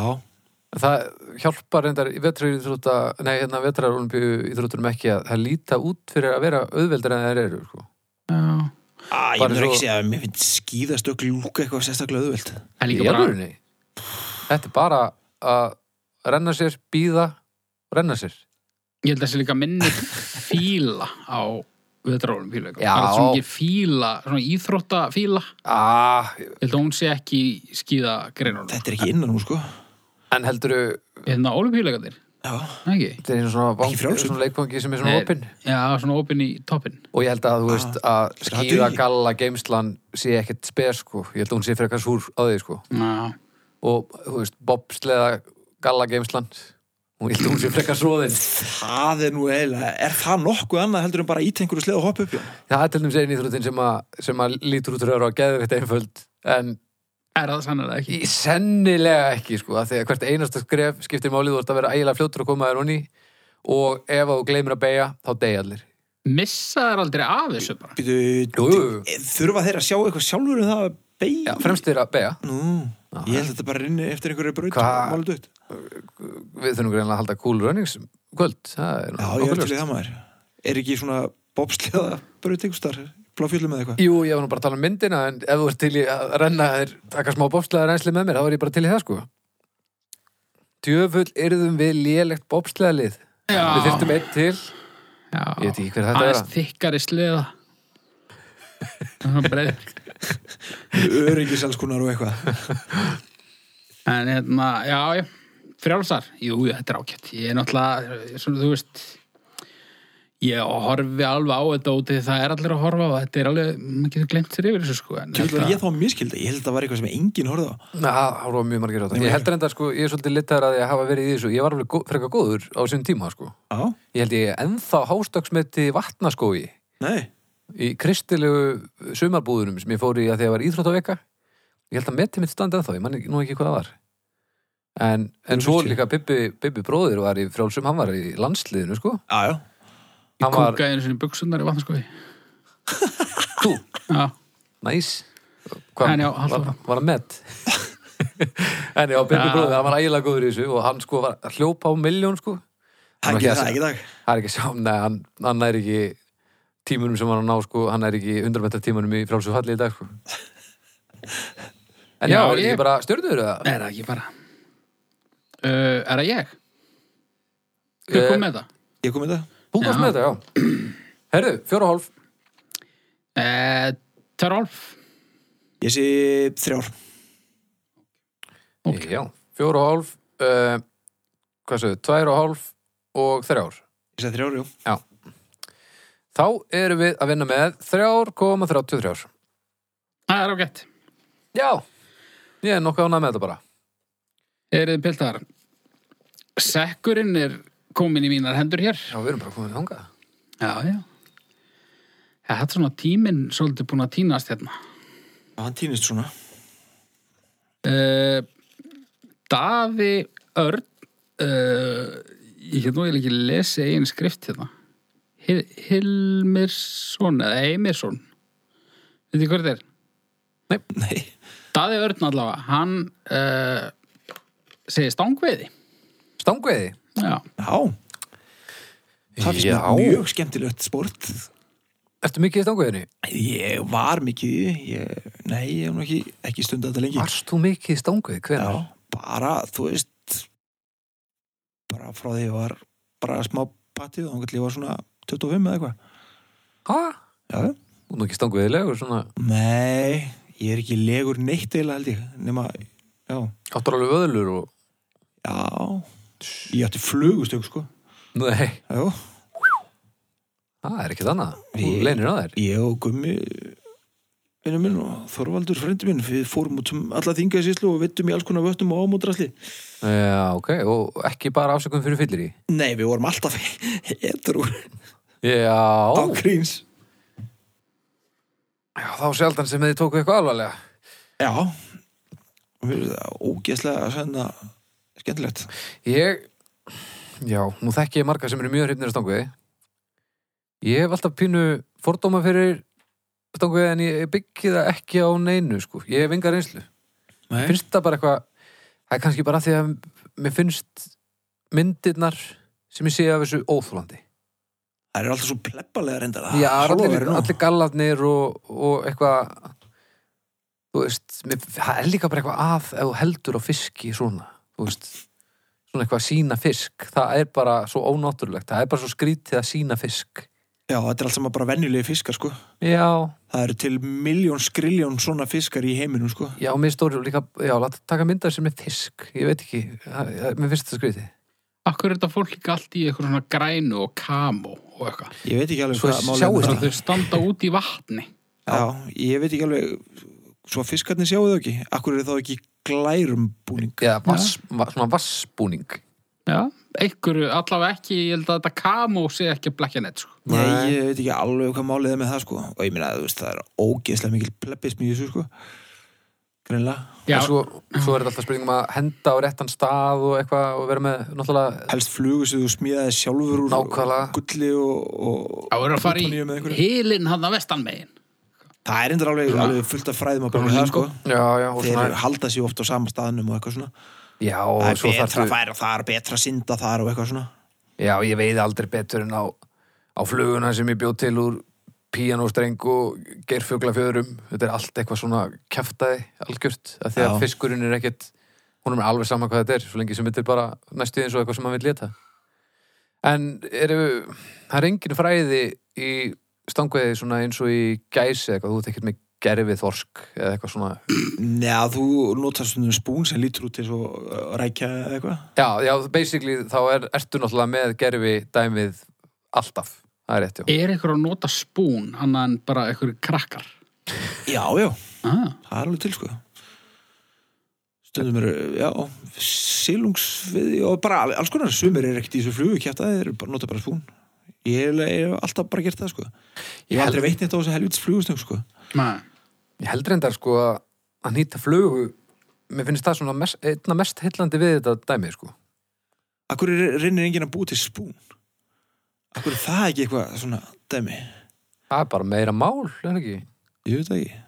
[SPEAKER 1] Það hjálpar reyndar í vetrarýþrótta, nei, hérna vetrarolimpíu íþróttunum ekki að það líta út fyrir að vera auðveldar en þeir eru sko.
[SPEAKER 2] Já.
[SPEAKER 3] ah, ég
[SPEAKER 1] Bara
[SPEAKER 3] myndir
[SPEAKER 1] svo-
[SPEAKER 3] ekki segja að mér finnst skýðast og glúka eitthvað sérstaklega auðvelt
[SPEAKER 2] það
[SPEAKER 1] Í
[SPEAKER 2] er líka bara
[SPEAKER 1] alvörunni? Þetta er bara að renna sér, býða renna sér.
[SPEAKER 2] ég held að það sé líka minni fíla á veðrálum fíla
[SPEAKER 1] Já.
[SPEAKER 2] það er svona ekki fíla, svona íþrótta fíla ég
[SPEAKER 1] Ah,
[SPEAKER 2] held að hún sé ekki skýða greinunum
[SPEAKER 3] þetta er ekki innan nú sko
[SPEAKER 1] en heldurðu
[SPEAKER 2] hérna ólupílegatir,
[SPEAKER 3] já,
[SPEAKER 2] ekki?
[SPEAKER 1] þetta er einu svona, vang,
[SPEAKER 3] Ekki frjálsum.
[SPEAKER 1] svona leikvangi sem er svona
[SPEAKER 2] Nei.
[SPEAKER 1] opinn
[SPEAKER 2] Já, svona opinn í toppinn
[SPEAKER 1] og ég held að þú veist að
[SPEAKER 3] það
[SPEAKER 1] skýða
[SPEAKER 3] dugi.
[SPEAKER 1] galla geimslan sé ekkert spes sko, ég held að hún sé frekar súr á því sko
[SPEAKER 2] Já,
[SPEAKER 1] og þú veist, bobsleða galla geimslan og ég held að hún sé frekar svoðin
[SPEAKER 3] það er nú eiginlega er það nokkuð annað heldur en bara ít einhverju sleð og hoppa upp já,
[SPEAKER 1] það er til dæmis einu íþróttin sem að, sem að lítur út fyrir að vera geðveitt einföld en
[SPEAKER 2] Er það sannlega ekki?
[SPEAKER 1] Í- Sennilega ekki, sko, af því að hvert einasta skref skiptir málið, þú ert að vera ægilega fljótur að koma þér honni og ef að þú gleymir að beigja, þá deyja allir.
[SPEAKER 2] Missa þær aldrei af þessu bara.
[SPEAKER 1] Jú, jú, jú.
[SPEAKER 3] Þurfa þeir að sjá eitthvað sjálfur um það að
[SPEAKER 1] Já,
[SPEAKER 3] beigja?
[SPEAKER 1] fremst þér að beigja.
[SPEAKER 3] Nú, ég held að þetta bara rinni eftir einhverju braut
[SPEAKER 1] Hva-
[SPEAKER 3] Málið dutt
[SPEAKER 1] Við þurfum greinlega að halda cool runnings um kvöld. Það er
[SPEAKER 3] Já,
[SPEAKER 1] nokkuð
[SPEAKER 3] ég er til í
[SPEAKER 1] ljóst.
[SPEAKER 3] það maður Er ekki svona bobsleða braut einhverstar Bláfjöldum eða eitthvað?
[SPEAKER 1] Jú, ég var nú bara að tala um myndina, en ef þú ert til í að renna þér, taka smá bobslega reynsli með mér, þá var ég bara til í það, sko. Djöfull yrðum við lélegt bobslega lið.
[SPEAKER 2] Já.
[SPEAKER 1] Við þyrftum einn til.
[SPEAKER 2] Já.
[SPEAKER 1] Ég veit ekki hver þetta
[SPEAKER 2] Aðeins
[SPEAKER 1] er.
[SPEAKER 2] þykkari sleða. Það er breið.
[SPEAKER 3] Öryggis alls konar og eitthvað
[SPEAKER 2] En hérna, já, já. Frjálsar. Jú, jú, þetta er ágætt. Ég er náttúrulega, svona, þú veist, ég horfi alveg á þetta út því það er allir að horfa á það. þetta er alveg, maður getur glemt sér yfir þessu sko. en
[SPEAKER 3] Kjöldar
[SPEAKER 2] þetta-
[SPEAKER 3] ég þá miskildi, ég held að það var eitthvað sem enginn horfði á
[SPEAKER 1] Na, það var mjög margir á þetta. Ég heldur enda, sko, ég er svolítið litar að ég hafa verið í þessu. Ég var alveg gó- frekar góður á sinn tíma, sko.
[SPEAKER 3] Já,
[SPEAKER 1] Ég held ég ennþá hástöksmeti vatnaskói
[SPEAKER 3] nei
[SPEAKER 1] í kristilegu sumarbúðunum sem ég fór í að þegar var íþróttaveka. Ég held að metið mitt standi ennþá, ég man ekki, nú ekki hvað það var. En, en svo líka Bibbi, Bibbi bróðir var í frjálsum, hann var í landsliðinu, sko.
[SPEAKER 3] Já, já
[SPEAKER 1] Hann var,
[SPEAKER 2] Kúka einu sinni buksunar í vatnarskofi.
[SPEAKER 1] þú,
[SPEAKER 2] Já.
[SPEAKER 1] næs.
[SPEAKER 2] En
[SPEAKER 1] Hvað,
[SPEAKER 2] já, haltu
[SPEAKER 1] var,
[SPEAKER 2] áfram.
[SPEAKER 1] var hann met? en já, Bibbi
[SPEAKER 2] Já.
[SPEAKER 1] bróðir, hann var ægilega góður í þessu og hann sko var hljópa á miljón, sko.
[SPEAKER 3] Það
[SPEAKER 1] Hann
[SPEAKER 3] er ekki
[SPEAKER 1] var
[SPEAKER 3] það, ekki dag
[SPEAKER 1] það er ekki sá, nei, hann, hann er ekki tímunum sem hann á ná, sko, hann er ekki 100 metra tímunum í frálsum falli í dag, sko. En já, já
[SPEAKER 2] Já,
[SPEAKER 1] er ég...
[SPEAKER 2] ég-
[SPEAKER 1] ekki bara stjörnur eða?
[SPEAKER 2] Er það ekki bara? Uh, er það ég? Hver kom
[SPEAKER 1] Eh,
[SPEAKER 2] með það?
[SPEAKER 3] Ég kom í þetta
[SPEAKER 1] Þú varst
[SPEAKER 2] Já.
[SPEAKER 1] með þetta, já. Herðu, fjóra og hálf.
[SPEAKER 2] Uh, Törolf.
[SPEAKER 3] Ég sé þrjár
[SPEAKER 2] Ok.
[SPEAKER 1] Já, fjóra og hálf, uh, hvað segðu, tvær og hálf og þrjár.
[SPEAKER 3] Ég sé þrjár, jú
[SPEAKER 1] Þá erum við að vinna með 3,33.
[SPEAKER 2] Það er ágætt.
[SPEAKER 1] Já, ég er nokkuð ánað með þetta bara.
[SPEAKER 2] Er þið piltar? Sekkurinn er komin í mínar hendur hér.
[SPEAKER 1] Já, við erum bara komin þangað.
[SPEAKER 2] Já, já. Þetta er svona tíminn svolítið búin að tínast hérna.
[SPEAKER 3] Já, Hann týnist svona
[SPEAKER 2] Uh, Davi Örn, uh, ég get nú eiginlega ekki lesi eigin skrift hérna. Hil Hilmirsson eða Eimirsson. Veit þið hvað þetta er?
[SPEAKER 3] Nei
[SPEAKER 2] Daði Örn allavega, hann uh, segir stangveiði.
[SPEAKER 1] Stangveiði.
[SPEAKER 2] Já.
[SPEAKER 3] Já, það finnst
[SPEAKER 1] Já.
[SPEAKER 3] mér mjög skemmtilegt sport
[SPEAKER 1] Ertu mikið í stangveiðinni?
[SPEAKER 3] Ég var mikið í því ég, Nei, ég hef nú ekki, ekki stundið þetta lengi
[SPEAKER 1] Varst þú mikið í stangveiði?
[SPEAKER 3] Já,
[SPEAKER 1] Hvernig?
[SPEAKER 3] bara, þú veist bara frá því ég var bara smá patið og þannig að ég var svona 25 eða eitthvað
[SPEAKER 1] Hæ?
[SPEAKER 3] Já,
[SPEAKER 1] Þú er nú ekki stangveiðilegur, svona...
[SPEAKER 3] nei, ég er ekki legur neitt eila held ég, nema já,
[SPEAKER 1] Áttur alveg vöðlur og...
[SPEAKER 3] já ég átti flugustök sko
[SPEAKER 1] Nei,
[SPEAKER 3] já,
[SPEAKER 1] það er ekkert annað. Þú
[SPEAKER 3] Ég-
[SPEAKER 1] leinir á þær.
[SPEAKER 3] ég og Gummi vinnu minn og Þorvaldur frendi minn, við fórum út um alla þingar síslu og vittum í alls konar vöttum og ámótrasli
[SPEAKER 1] Já, ok, og ekki bara afsökun fyrir fyllir í.
[SPEAKER 3] nei, við vorum alltaf etur úr
[SPEAKER 1] Já,
[SPEAKER 3] á gríns
[SPEAKER 1] já þá sjaldan sem þið tóku eitthvað alvarlega.
[SPEAKER 3] já Við- það er ógeðslega svona, skemmtilegt
[SPEAKER 1] Ég, já, nú þekki ég marga sem eru mjög hrifnir af stanguði. Ég hef alltaf pínu fordóma fyrir stanguði en ég byggi það ekki á neinu, sko. Ég hef enga reynslu.
[SPEAKER 3] Nei.
[SPEAKER 1] Finnst það bara eitthvað, það er kannski bara því að mér finnst myndirnar sem ég sé af þessu óþúlandi.
[SPEAKER 3] Það eru alltaf svo plebbalega reyndar að
[SPEAKER 1] Já,
[SPEAKER 3] hálfa
[SPEAKER 1] allir,
[SPEAKER 3] verið Ah, nú.
[SPEAKER 1] allir gallarnir og, og eitthvað þú veist, mér- það er líka bara eitthvað að ef þú heldur á fiski svona þú veist, svona eitthvað sína fisk það er bara svo ónáttúrulegt það er bara svo skrítið að sína fisk
[SPEAKER 3] Já, þetta er allt saman bara venjulegi fiskar sko
[SPEAKER 1] Já,
[SPEAKER 3] Það eru til miljón skriljón svona fiskar í heiminum sko
[SPEAKER 1] já, mér stóri og líka já, láta taka myndar sem er fisk ég veit ekki, það, það- mér finnst það skrítið
[SPEAKER 2] Akkur er þetta fólk ekki allt í eitthvað svona grænu og kamó og eitthvað.
[SPEAKER 3] Ég veit ekki alveg
[SPEAKER 1] Svo
[SPEAKER 3] hvað
[SPEAKER 1] sjáist
[SPEAKER 3] málið er
[SPEAKER 2] Bara
[SPEAKER 3] með
[SPEAKER 2] þau standa út í vatni.
[SPEAKER 3] það. Já, ég veit ekki alveg Svo fiskarnir sjáu þau ekki Akkur eru þá ekki í glærum búning
[SPEAKER 1] Já, vass, va, svona vassbúning
[SPEAKER 2] Já. Einhverju, allavega ekki, ég held að þetta kamó sé ekki að blekja neitt, sko.
[SPEAKER 3] Nei, ég veit ekki alveg hvað málið er með það sko Og ég meina, þú veist, það er ógeðslega mikil plebbismi í þessu sko greinlega.
[SPEAKER 2] Já,
[SPEAKER 1] En svo, svo er þetta alltaf spurningum að henda á réttan stað og eitthvað og vera með náttúrulega
[SPEAKER 3] Helst flugu sem þú smíðaði sjálfur úr
[SPEAKER 1] Nákvæmlega.
[SPEAKER 3] gulli og,
[SPEAKER 2] þá
[SPEAKER 3] og
[SPEAKER 2] er að fara
[SPEAKER 3] útvaníu með
[SPEAKER 2] í
[SPEAKER 3] einhverju.
[SPEAKER 2] hilinn hann að vestan megin.
[SPEAKER 3] Það er endur alveg,
[SPEAKER 2] Svona.
[SPEAKER 3] alveg fullt af fræðum að
[SPEAKER 2] Gömlu
[SPEAKER 3] bóna það sko.
[SPEAKER 2] lingo.
[SPEAKER 1] Já, já, og
[SPEAKER 3] Þeir
[SPEAKER 1] svona
[SPEAKER 3] halda sér oft á sama staðnum og eitthvað svona.
[SPEAKER 1] Já,
[SPEAKER 3] það
[SPEAKER 1] og
[SPEAKER 3] er
[SPEAKER 1] svo
[SPEAKER 3] betra
[SPEAKER 1] þarftu
[SPEAKER 3] að færa þar, betra að synda þar og eitthvað svona.
[SPEAKER 1] Já, ég veiði aldrei betur en á, á fluguna sem ég bjóð til úr píanóstreng og geirfuglafjöðrum þetta er allt eitthvað svona kjaftaði algjört, af því að
[SPEAKER 3] Já.
[SPEAKER 1] fiskurinn er ekkert hún er alveg sama hvað þetta er svo lengi sem þetta er bara næstu eins og eitthvað sem maður vil leta en eru það er engin fræði í stangveiði svona eins og í gæsi eitthvað, þú ert ekkert með gerfið þorsk eða eitthvað svona,
[SPEAKER 3] Njá, þú notar svona spún sem lítur út til svo uh, rækja eða eitthvað.
[SPEAKER 1] já, já, basically þá er, ertu náttúrulega með gerfi dæmið alltaf, það er rétt, já
[SPEAKER 2] Er einhver að nota spún annað en bara einhver krakkar?
[SPEAKER 3] Já, já,
[SPEAKER 2] Ah,
[SPEAKER 3] það er alveg til sko. Stundum eru, já, silungsviði og bara al- alls konar. Sumir eru ekkert í þessu flugu kjæfta, þeir bara- nota bara spún. Ég hef ég hef alltaf bara gert það sko. Ég hef aldrei veit neitt á þessu helvits flugustöng sko.
[SPEAKER 2] maður.
[SPEAKER 1] Ég held reyndar sko að að nýta flugu mér finnst það svona mest, einna mest heillandi við þetta dæmi sko.
[SPEAKER 3] Akkur reynir enginn að búi til spún? Akkur er það ekki eitthvað svona dæmi?
[SPEAKER 1] Það er bara meira mál, er það ekki?
[SPEAKER 3] Ég veit það ekki.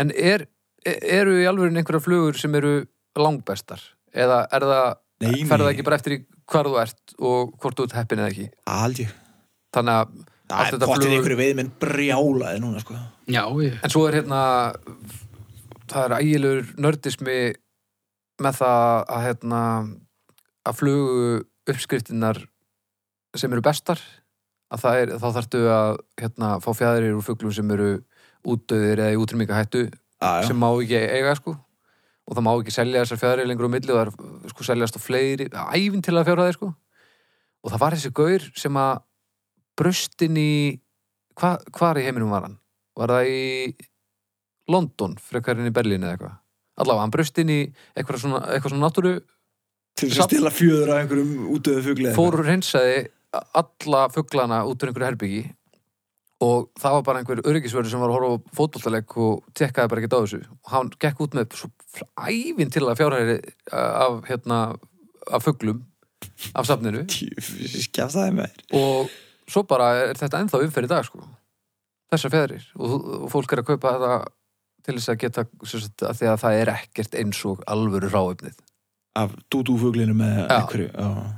[SPEAKER 1] En er, e- eru í alvöru einhverja flugur sem eru langbestar? Eða er það,
[SPEAKER 3] Nei, nei.
[SPEAKER 1] fer það ekki bara eftir í hvar þú ert og hvort þú ert heppin eða ekki?
[SPEAKER 3] Aldi.
[SPEAKER 1] Þannig að
[SPEAKER 3] Það er pottir einhverju veiðmenn brjálaði núna, sko.
[SPEAKER 2] Já, ég,
[SPEAKER 1] En svo er hérna það er ægilegur nördismi með það að hérna að flugu uppskriftinnar sem eru bestar að það er, þá þarftu að hérna, fá fjæðrir úr fuglum sem eru útdöðir eða í útrýmingahættu
[SPEAKER 3] Já,
[SPEAKER 1] sem má ekki eiga sko og það má ekki selja þessar fjæðrir lengur á milli og það er sko seljast á fleiri ævinn til að fjárra þeir sko og það var þessi gaur sem að brustin í hva, hvar í heiminum var hann? Var það í London, frekarinn í Berlín eða eitthvað? Allavega, hann brustin í eitthvað svona, eitthvað svona náttúru
[SPEAKER 3] Til þess að
[SPEAKER 1] samt-
[SPEAKER 3] stila fjöður af einhverjum útöðu fuglið.
[SPEAKER 1] fór og hreinsaði alla fuglana út úr einhverju herbyggi og það var bara einhver öryggisverður sem var að horfa á fótboltaleik og tekkaði bara ekkert á þessu og hann gekk út með svo ævinn til að fjárhæri af, hérna, af fuglum af safninu
[SPEAKER 3] Skjaftaði með þér.
[SPEAKER 1] og svo bara er þetta ennþá umferð í dag sko. þessar fjæðrir og, og fólk er að kaupa þetta til þess að geta sem sagt, að því að það er ekkert eins og alvöru ráöfnið
[SPEAKER 3] Af dúdúfuglinu með
[SPEAKER 1] Já.
[SPEAKER 3] einhverju. Já.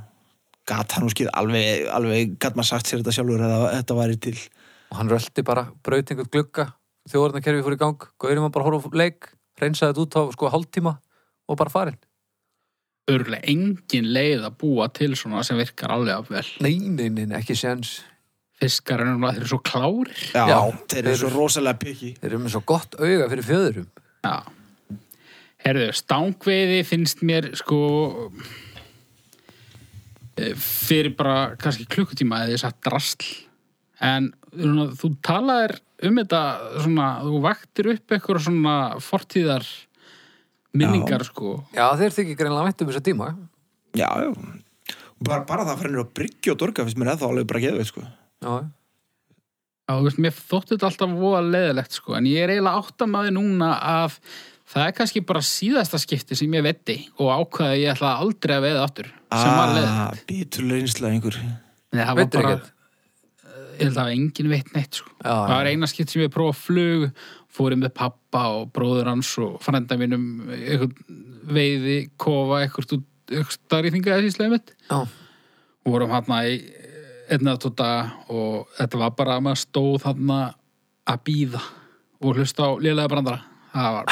[SPEAKER 3] Gat hann og skið alveg, alveg, gat maður sagt sér þetta sjálfur að þetta væri til.
[SPEAKER 1] og hann rölti bara braut einhvern glugga þjóðarnakerfi fór í gang, gaurinn var bara að horfa á leik reynsaði þetta út á sko hálftíma og bara farinn.
[SPEAKER 2] örlega engin leið að búa til svona sem virkar alveg af vel.
[SPEAKER 1] Nei, nei, nei, nei, ekki séns
[SPEAKER 2] Fiskar er náttúrulega þeir eru svo klárir.
[SPEAKER 3] Já, þeir
[SPEAKER 1] þeir
[SPEAKER 3] eru svo
[SPEAKER 1] eru-
[SPEAKER 3] rosalega piki.
[SPEAKER 1] þeir eru með svo gott auga fyrir fjöðurum
[SPEAKER 2] Já. Herðu, stangveiði finnst mér sko eh, fyrir bara kannski klukkutíma eða ég satt drasl en svona, þú talaðir um þetta svona, þú vaktir upp eitthvað svona fortíðar minningar sko
[SPEAKER 1] Já, þeir þykir greinlega vænt um þessa tíma
[SPEAKER 3] Já, já. Bara, bara það fyrir að bryggja og dorga finnst mér eða alveg bara geðveit, sko.
[SPEAKER 1] Já,
[SPEAKER 2] Já, þú veist, mér þótti þetta alltaf voða leðilegt, sko, en ég er eiginlega áttamaði núna að það er kannski bara síðasta skipti sem ég vetti og ákvaði að ég ætla aldrei að veiða aftur sem var leðilegt.
[SPEAKER 3] Ah, biturlega einslega einhver.
[SPEAKER 2] Nei, það var
[SPEAKER 1] veitir
[SPEAKER 2] bara,
[SPEAKER 1] ekkert
[SPEAKER 2] ég held að hafa engin veit neitt, sko.
[SPEAKER 1] Já,
[SPEAKER 2] það var
[SPEAKER 1] já.
[SPEAKER 2] eina skipt sem ég prófaði að flug, fórið með pappa og bróður hans og frænda mínum einhvern veiði, kofa, eitthvað, eitthvað starrýþinga eða síslega mitt.
[SPEAKER 1] Já,
[SPEAKER 2] vorum hann í eh, einn eða tóta og þetta var bara að maður stóð hann að býða og hlusta á lélega brandara það var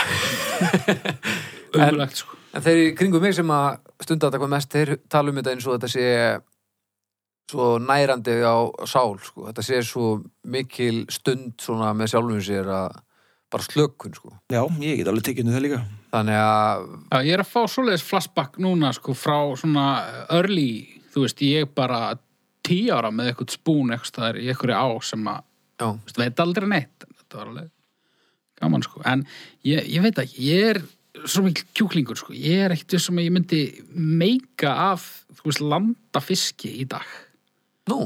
[SPEAKER 2] umlegt sko
[SPEAKER 1] En þeir í kringum mig sem að stunda þetta hvað mest, þeir tala um þetta eins og þetta sé svo nærandi á sál, sko. Þetta sé svo mikil stund svona með sjálfum sér að bara slökun, sko.
[SPEAKER 3] Já, ég get alveg tekið undir það líka.
[SPEAKER 1] Þannig að,
[SPEAKER 2] Já, ég er að fá svoleiðis flashback núna sko frá svona early þú veist ég bara tí ára með eitthvað spún eitthvað staðar í eitthvað á sem að
[SPEAKER 1] já,
[SPEAKER 2] þú veist, veit aldrei neitt en þetta var alveg gaman sko en ég, ég veit ekki, ég er svo mikil kjúklingur sko, ég er ekkert sem að ég myndi meika af þú veist, landa fiski í dag
[SPEAKER 1] nú,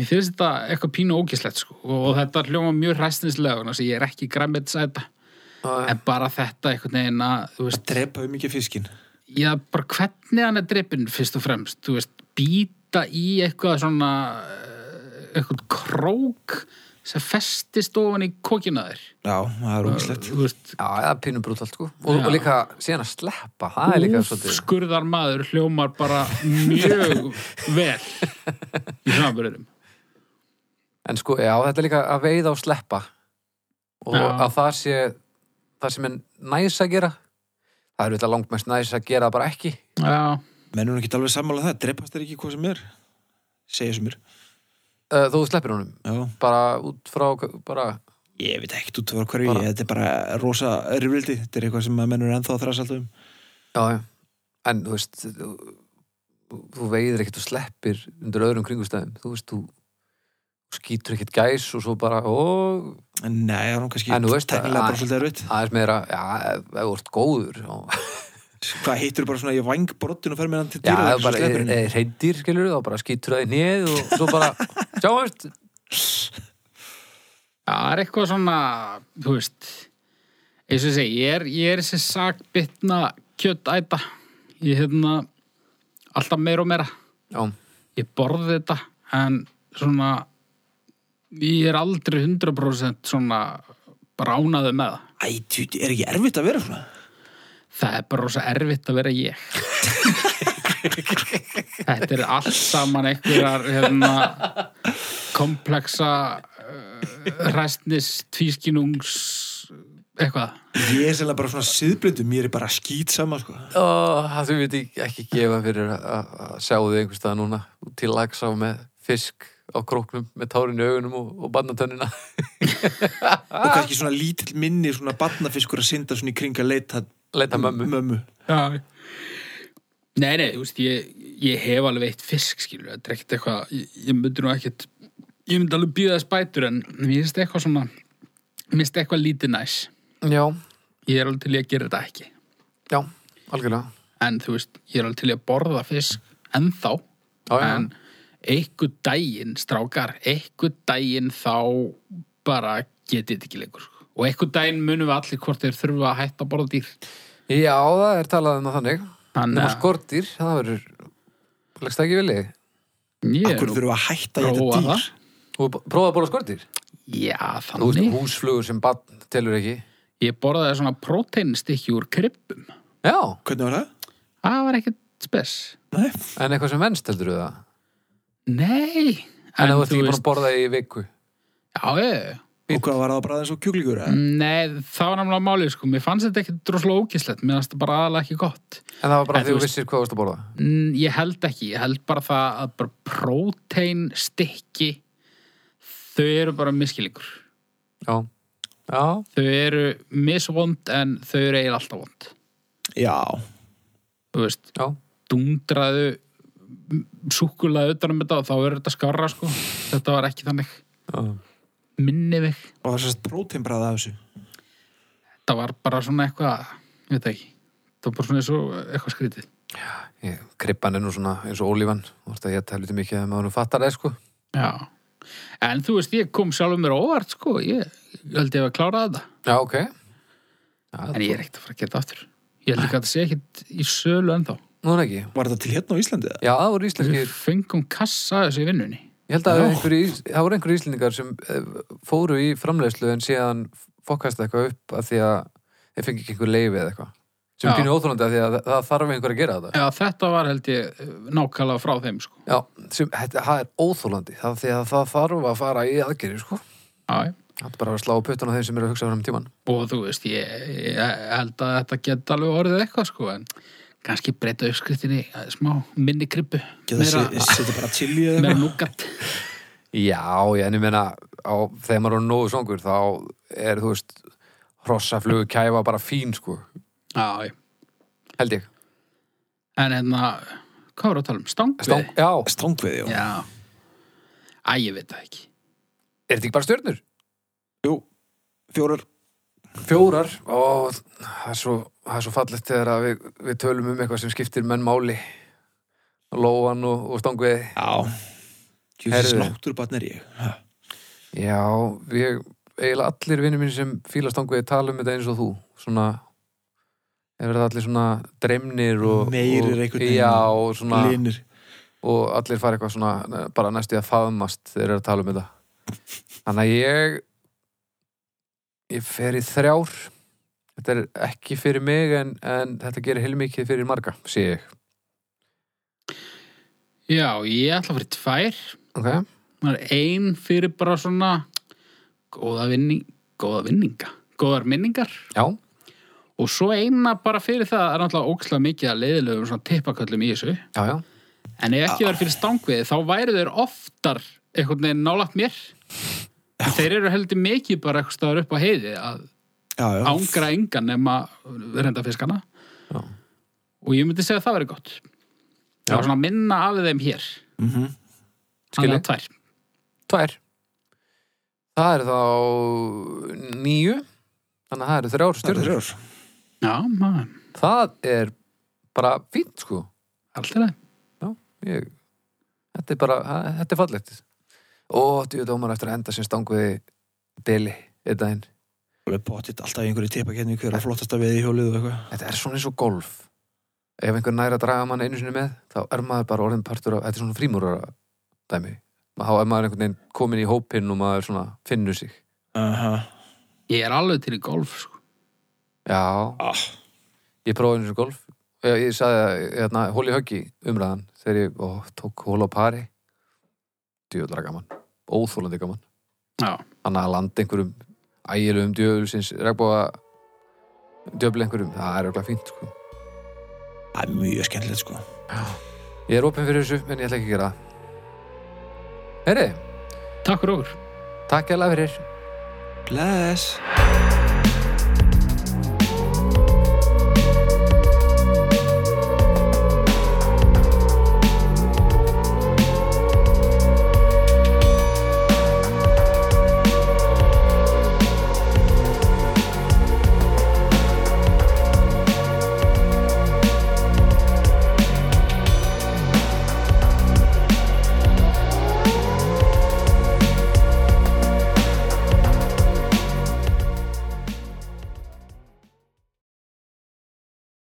[SPEAKER 2] mér finnst sko, þetta eitthvað pínu ógislegt sko og þetta hljóma mjög hræstinslega þannig að ég er ekki græmmet sæta
[SPEAKER 1] já.
[SPEAKER 2] en bara þetta einhvern veginn að þú veist,
[SPEAKER 3] Drepa um mikið fiskin.
[SPEAKER 2] já, bara hvernig hann er dreipin fyrst og fremst, þú veist, býta í eitthvað svona eh, eitthvað krók sem festist ofan í kókina þér
[SPEAKER 3] Já, það er ómislegt.
[SPEAKER 2] þú veist,
[SPEAKER 1] Já, það er pínum brútalt sko og,
[SPEAKER 2] Já. sko.
[SPEAKER 1] og líka síðan að sleppa, það er líka svolítið
[SPEAKER 2] skurðar maður hljómar bara mjög vel í samanbyrðum
[SPEAKER 1] En sko, já, þetta er líka að veiða og sleppa og
[SPEAKER 2] Já.
[SPEAKER 1] að það sé það sem er næs að gera það er auðvitað langmest næs að gera það bara ekki
[SPEAKER 2] já,
[SPEAKER 3] Mennum ekki alveg sammála um það, drepast er ekki hvað sem er. Segja sem er.
[SPEAKER 1] uh, þú sleppir honum,
[SPEAKER 3] Já.
[SPEAKER 1] bara út frá bara,
[SPEAKER 3] Ég veit ekkert út frá hverju,
[SPEAKER 1] Bara-
[SPEAKER 3] ég, þetta er bara rosa rifrildi. Þetta er eitthvað sem að mennur er ennþá að þræsa alltaf um.
[SPEAKER 1] já, já en þú veist þú, þú veiðir ekkert og sleppir undir öðrum kringustæðum, þú veist, þú skýtur ekkert gæs og svo bara og
[SPEAKER 3] En Nei, það er nú kannski
[SPEAKER 1] En þú veist að-
[SPEAKER 3] teknilega bara svolítið erfitt.
[SPEAKER 1] aðeins meira, já, ef ef þú ert góður og
[SPEAKER 3] Hvað hittur bara svona í vangbrottinu og fer með hann til
[SPEAKER 1] Já,
[SPEAKER 3] dýra?
[SPEAKER 1] það er bara eh, reyndir, skilur þá bara skýtur það í nýð og svo bara sjáumst,
[SPEAKER 2] Já, það er eitthvað svona, þú veist, eins og ég segi, ég er, ég er þessi sakbytna kjötæta. Ég hérna, alltaf meira og meira.
[SPEAKER 1] já,
[SPEAKER 2] Ég borði þetta, en svona, ég er aldrei 100% svona bránaði með það.
[SPEAKER 3] Æ, tjú, er ekki erfitt að vera svona?
[SPEAKER 2] Það er bara rosa erfitt að vera ég. Þetta er allt saman einhverjar hérna, komplexa uh, ræstnis, tvískinungs, eitthvað.
[SPEAKER 3] Ég er sérlega bara svona siðblindum, ég er bara skýt sama, sko.
[SPEAKER 1] Ó, það þú veit ekki, ekki gefa fyrir að- að að sjá þig einhvers staðar núna til lagsa með fisk á króknum með tárin í augunum og, og barnatönnina
[SPEAKER 3] Og
[SPEAKER 1] Ah.
[SPEAKER 3] kannski svona lítill minni, svona barnafiskur að synda svona í kring að leita
[SPEAKER 1] leita mömmu
[SPEAKER 3] mömmu.
[SPEAKER 2] Já. Nei, nei, þú veist, ég, ég hef alveg eitt fisk, skilur, þetta er ekkert eitthvað, ég, ég myndi nú ekkert, ég myndi alveg býða þess bætur, en mér finnst eitthvað svona, mér finnst eitthvað lítið næs.
[SPEAKER 1] Já,
[SPEAKER 2] Ég er alveg til í að gera þetta ekki.
[SPEAKER 1] já, algjörlega
[SPEAKER 2] En þú veist, ég er alveg til í að borða fisk ennþá,
[SPEAKER 1] Já, já,
[SPEAKER 2] en einhver daginn, strákar, einhver daginn þá bara getið þetta ekki lengur, sko. Og einhver daginn munum við allir hvort þeir þurfa að hætta að borða dýr.
[SPEAKER 1] já, það er talað um það þannig
[SPEAKER 2] Þannig
[SPEAKER 1] Nú
[SPEAKER 2] að-
[SPEAKER 1] skortir, það verður leggst það ekki viljið
[SPEAKER 2] Ég er
[SPEAKER 3] Akkur
[SPEAKER 2] nú-
[SPEAKER 3] þurfum við að hætta að
[SPEAKER 2] prófa
[SPEAKER 3] geta dýr?
[SPEAKER 2] það.
[SPEAKER 1] Þú hefur prófað að bóla skortir?
[SPEAKER 2] Já,
[SPEAKER 1] Þú veist,
[SPEAKER 2] þannig.
[SPEAKER 1] húsflugur sem barn telur ekki
[SPEAKER 2] Ég borðaði svona próteinstykki úr kryppum.
[SPEAKER 1] Já,
[SPEAKER 3] Hvernig var það?
[SPEAKER 2] Það var ekkert spes.
[SPEAKER 3] Nei,
[SPEAKER 1] en eitthvað sem venst heldur það
[SPEAKER 2] Nei.
[SPEAKER 1] En, þú ert ekki búin að borða í viku
[SPEAKER 2] Já, ég.
[SPEAKER 3] og hvað var það bara eins og kjúklingur?
[SPEAKER 2] Mm.
[SPEAKER 3] eða?
[SPEAKER 2] Nei, það var náttúrulega málið, sko. Mér fannst þetta ekkert droslega ókislegt. Mér fannst þetta bara aðalega ekki gott.
[SPEAKER 1] En það var bara
[SPEAKER 2] En
[SPEAKER 1] því
[SPEAKER 2] þú
[SPEAKER 1] þú vissir hvað þú varst að borða
[SPEAKER 2] Mm, Ég held ekki. Ég held bara það að bara próteinstykki, þau eru bara miskilíkur.
[SPEAKER 1] Já, já,
[SPEAKER 2] Þau eru misvond en þau eru eiginlega alltaf vond.
[SPEAKER 3] Já,
[SPEAKER 2] Þú veist,
[SPEAKER 1] já
[SPEAKER 2] dundraðu súkulega utan um þetta og þá verður þetta skarra, sko. Þetta var ekki þannig.
[SPEAKER 1] Já.
[SPEAKER 2] minni mig
[SPEAKER 3] og það er sérst próteinbræða af þessu.
[SPEAKER 2] það var bara svona eitthvað ég veit það ekki, það var bara svona eins og eitthvað skrítið
[SPEAKER 1] Ég, kribban er nú svona eins og ólífan þú vorst að hétta helviti mikið að maður fattar það sko
[SPEAKER 2] já, en þú veist ég kom sjálfur mér á óvart sko ég ég held ég að klára þetta,
[SPEAKER 1] já ok já,
[SPEAKER 2] en ég er ekkert að fara að gera þetta aftur ég held ekki að það sé ekkert í sölu ennþá
[SPEAKER 1] nú er ekki
[SPEAKER 3] Var þetta til hérna á Íslandi? eða?
[SPEAKER 1] já það voru
[SPEAKER 2] við
[SPEAKER 1] íslenskir
[SPEAKER 2] fengum kassa af þessu í vinnunni
[SPEAKER 1] ég held að
[SPEAKER 3] Já.
[SPEAKER 1] einhverju, ís- það voru einhverju íslendingar sem eh, fóru í framleiðslu en síðan fokkast eitthvað upp af því að þeir fengi ekki einhver leifi eða eitthvað sem
[SPEAKER 2] Já.
[SPEAKER 1] er kynu óþólandi af því að það- það þarf einhver að gera þetta
[SPEAKER 2] já, þetta var held ég nákvæmlega frá þeim sko
[SPEAKER 1] já, sem, þetta, það er óþólandi það, því að það þarf að fara í aðgerið sko
[SPEAKER 2] já, já.
[SPEAKER 1] það er bara að slá puttana þeim sem eru að hugsa um fram tíman
[SPEAKER 2] og þú veist ég, ég held að þetta geta alveg orðið eitthvað sko en kannski breyta uppskriftinni eh, smá minni kribbu
[SPEAKER 3] Geta
[SPEAKER 2] meira,
[SPEAKER 3] se- setja bara til í
[SPEAKER 2] meira
[SPEAKER 3] það?
[SPEAKER 2] núgat
[SPEAKER 1] Já, ég- en ég meina á, þegar maður er nógu svongur þá er, þú veist, hrossaflugu kæfa bara fín, sko,
[SPEAKER 2] já, já
[SPEAKER 1] held ég
[SPEAKER 2] En hérna, hvað voru að tala um? Stangvið?
[SPEAKER 1] Stang, Já,
[SPEAKER 3] Stangveið, já.
[SPEAKER 2] Já. Æ, ég veit það ekki.
[SPEAKER 1] er þetta ekki bara stjörnur?
[SPEAKER 3] Jú, fjórar.
[SPEAKER 1] Fjórar og það er svo, það er svo fallegt þegar að við, við tölum um eitthvað sem skiptir menn máli Lóan og, og stangvið
[SPEAKER 3] Já. Jú,
[SPEAKER 1] Heyrðu.
[SPEAKER 3] þessi slátturbarn er ég. Ha.
[SPEAKER 1] Já, ég eiginlega allir vinnir mín sem fílastanguði tala um þetta eins og þú svona er verið allir svona dreimnir og,
[SPEAKER 3] Meirir
[SPEAKER 1] og-
[SPEAKER 3] einhvern veginn.
[SPEAKER 1] já, og, svona,
[SPEAKER 3] linir
[SPEAKER 1] og allir fara eitthvað svona eh, bara næstu í að faðmast þegar þeir eru að tala um þetta þannig að ég ég fer í þrjár þetta er ekki fyrir mig en, en þetta gerir heilmikið fyrir marga sé ég
[SPEAKER 2] Já, ég ætla að fyrir tvær.
[SPEAKER 1] okay?
[SPEAKER 2] Það er ein fyrir bara svona góða, vinning, góða vinninga, góðar minningar.
[SPEAKER 1] já,
[SPEAKER 2] Og svo eina bara fyrir það er náttúrulega ókslega mikið að leiðilegum svona tippaköllum í þessu.
[SPEAKER 1] já, já
[SPEAKER 2] En ef ekki verður fyrir stangviði, þá væri þeir oftar einhvern veginn nálægt mér. En þeir eru heldur mikið bara eitthvað staðar upp á heiði að
[SPEAKER 3] já, já.
[SPEAKER 2] ángra engan nema reynda fiskana.
[SPEAKER 1] Já.
[SPEAKER 2] Og ég myndi segja að það verið gott. Það
[SPEAKER 1] Já.
[SPEAKER 2] var svona að minna af þeim hér.
[SPEAKER 3] Mhm.
[SPEAKER 1] Skilji.
[SPEAKER 2] Skilja. Tvær.
[SPEAKER 1] Tvær. Það eru þá nýju. Þannig að það eru þrjár
[SPEAKER 3] Það eru
[SPEAKER 1] stjörnur.
[SPEAKER 3] þrjár.
[SPEAKER 2] Já, maður.
[SPEAKER 1] Það er bara fínt, sko.
[SPEAKER 2] Allt er það.
[SPEAKER 1] Ég, þetta er bara, það- þetta er fallegt. Ó, djú, dómar eftir að enda sem stanguði deli einn daginn.
[SPEAKER 3] alveg pottitt alltaf í einhverju tipakenni hver að flottasta veið í hjólið og eitthvað
[SPEAKER 1] Þetta er svona eins og golf. Ef einhver næra að draga mann einu sinni með, þá er maður bara orðin partur af, þetta er svona frímúrara dæmi. Þá er maður einhvern veginn komin í hópinn og maður svona finnur sig.
[SPEAKER 3] Aha.
[SPEAKER 2] Ég er alveg til í golf, sko.
[SPEAKER 1] Já,
[SPEAKER 3] ah.
[SPEAKER 1] Ég prófaði eins og golf Ég, ég sagði að hérna, hóli höggi umræðan þegar ég ó, tók hóla á pari djöðlara gaman óþólandi gaman
[SPEAKER 2] Já.
[SPEAKER 1] Þannig að landa einhverjum ægilegum djöðulsins regnbóða djöfli einhverjum, það er örugglega fínt sko.
[SPEAKER 3] Það er mjög skemmtilegt sko
[SPEAKER 1] Ég er opinn fyrir þessu, en ég ætla ekki að gera það Heyri,
[SPEAKER 2] Takk fyrir okkur.
[SPEAKER 1] takk ég alveg fyrir
[SPEAKER 3] Bless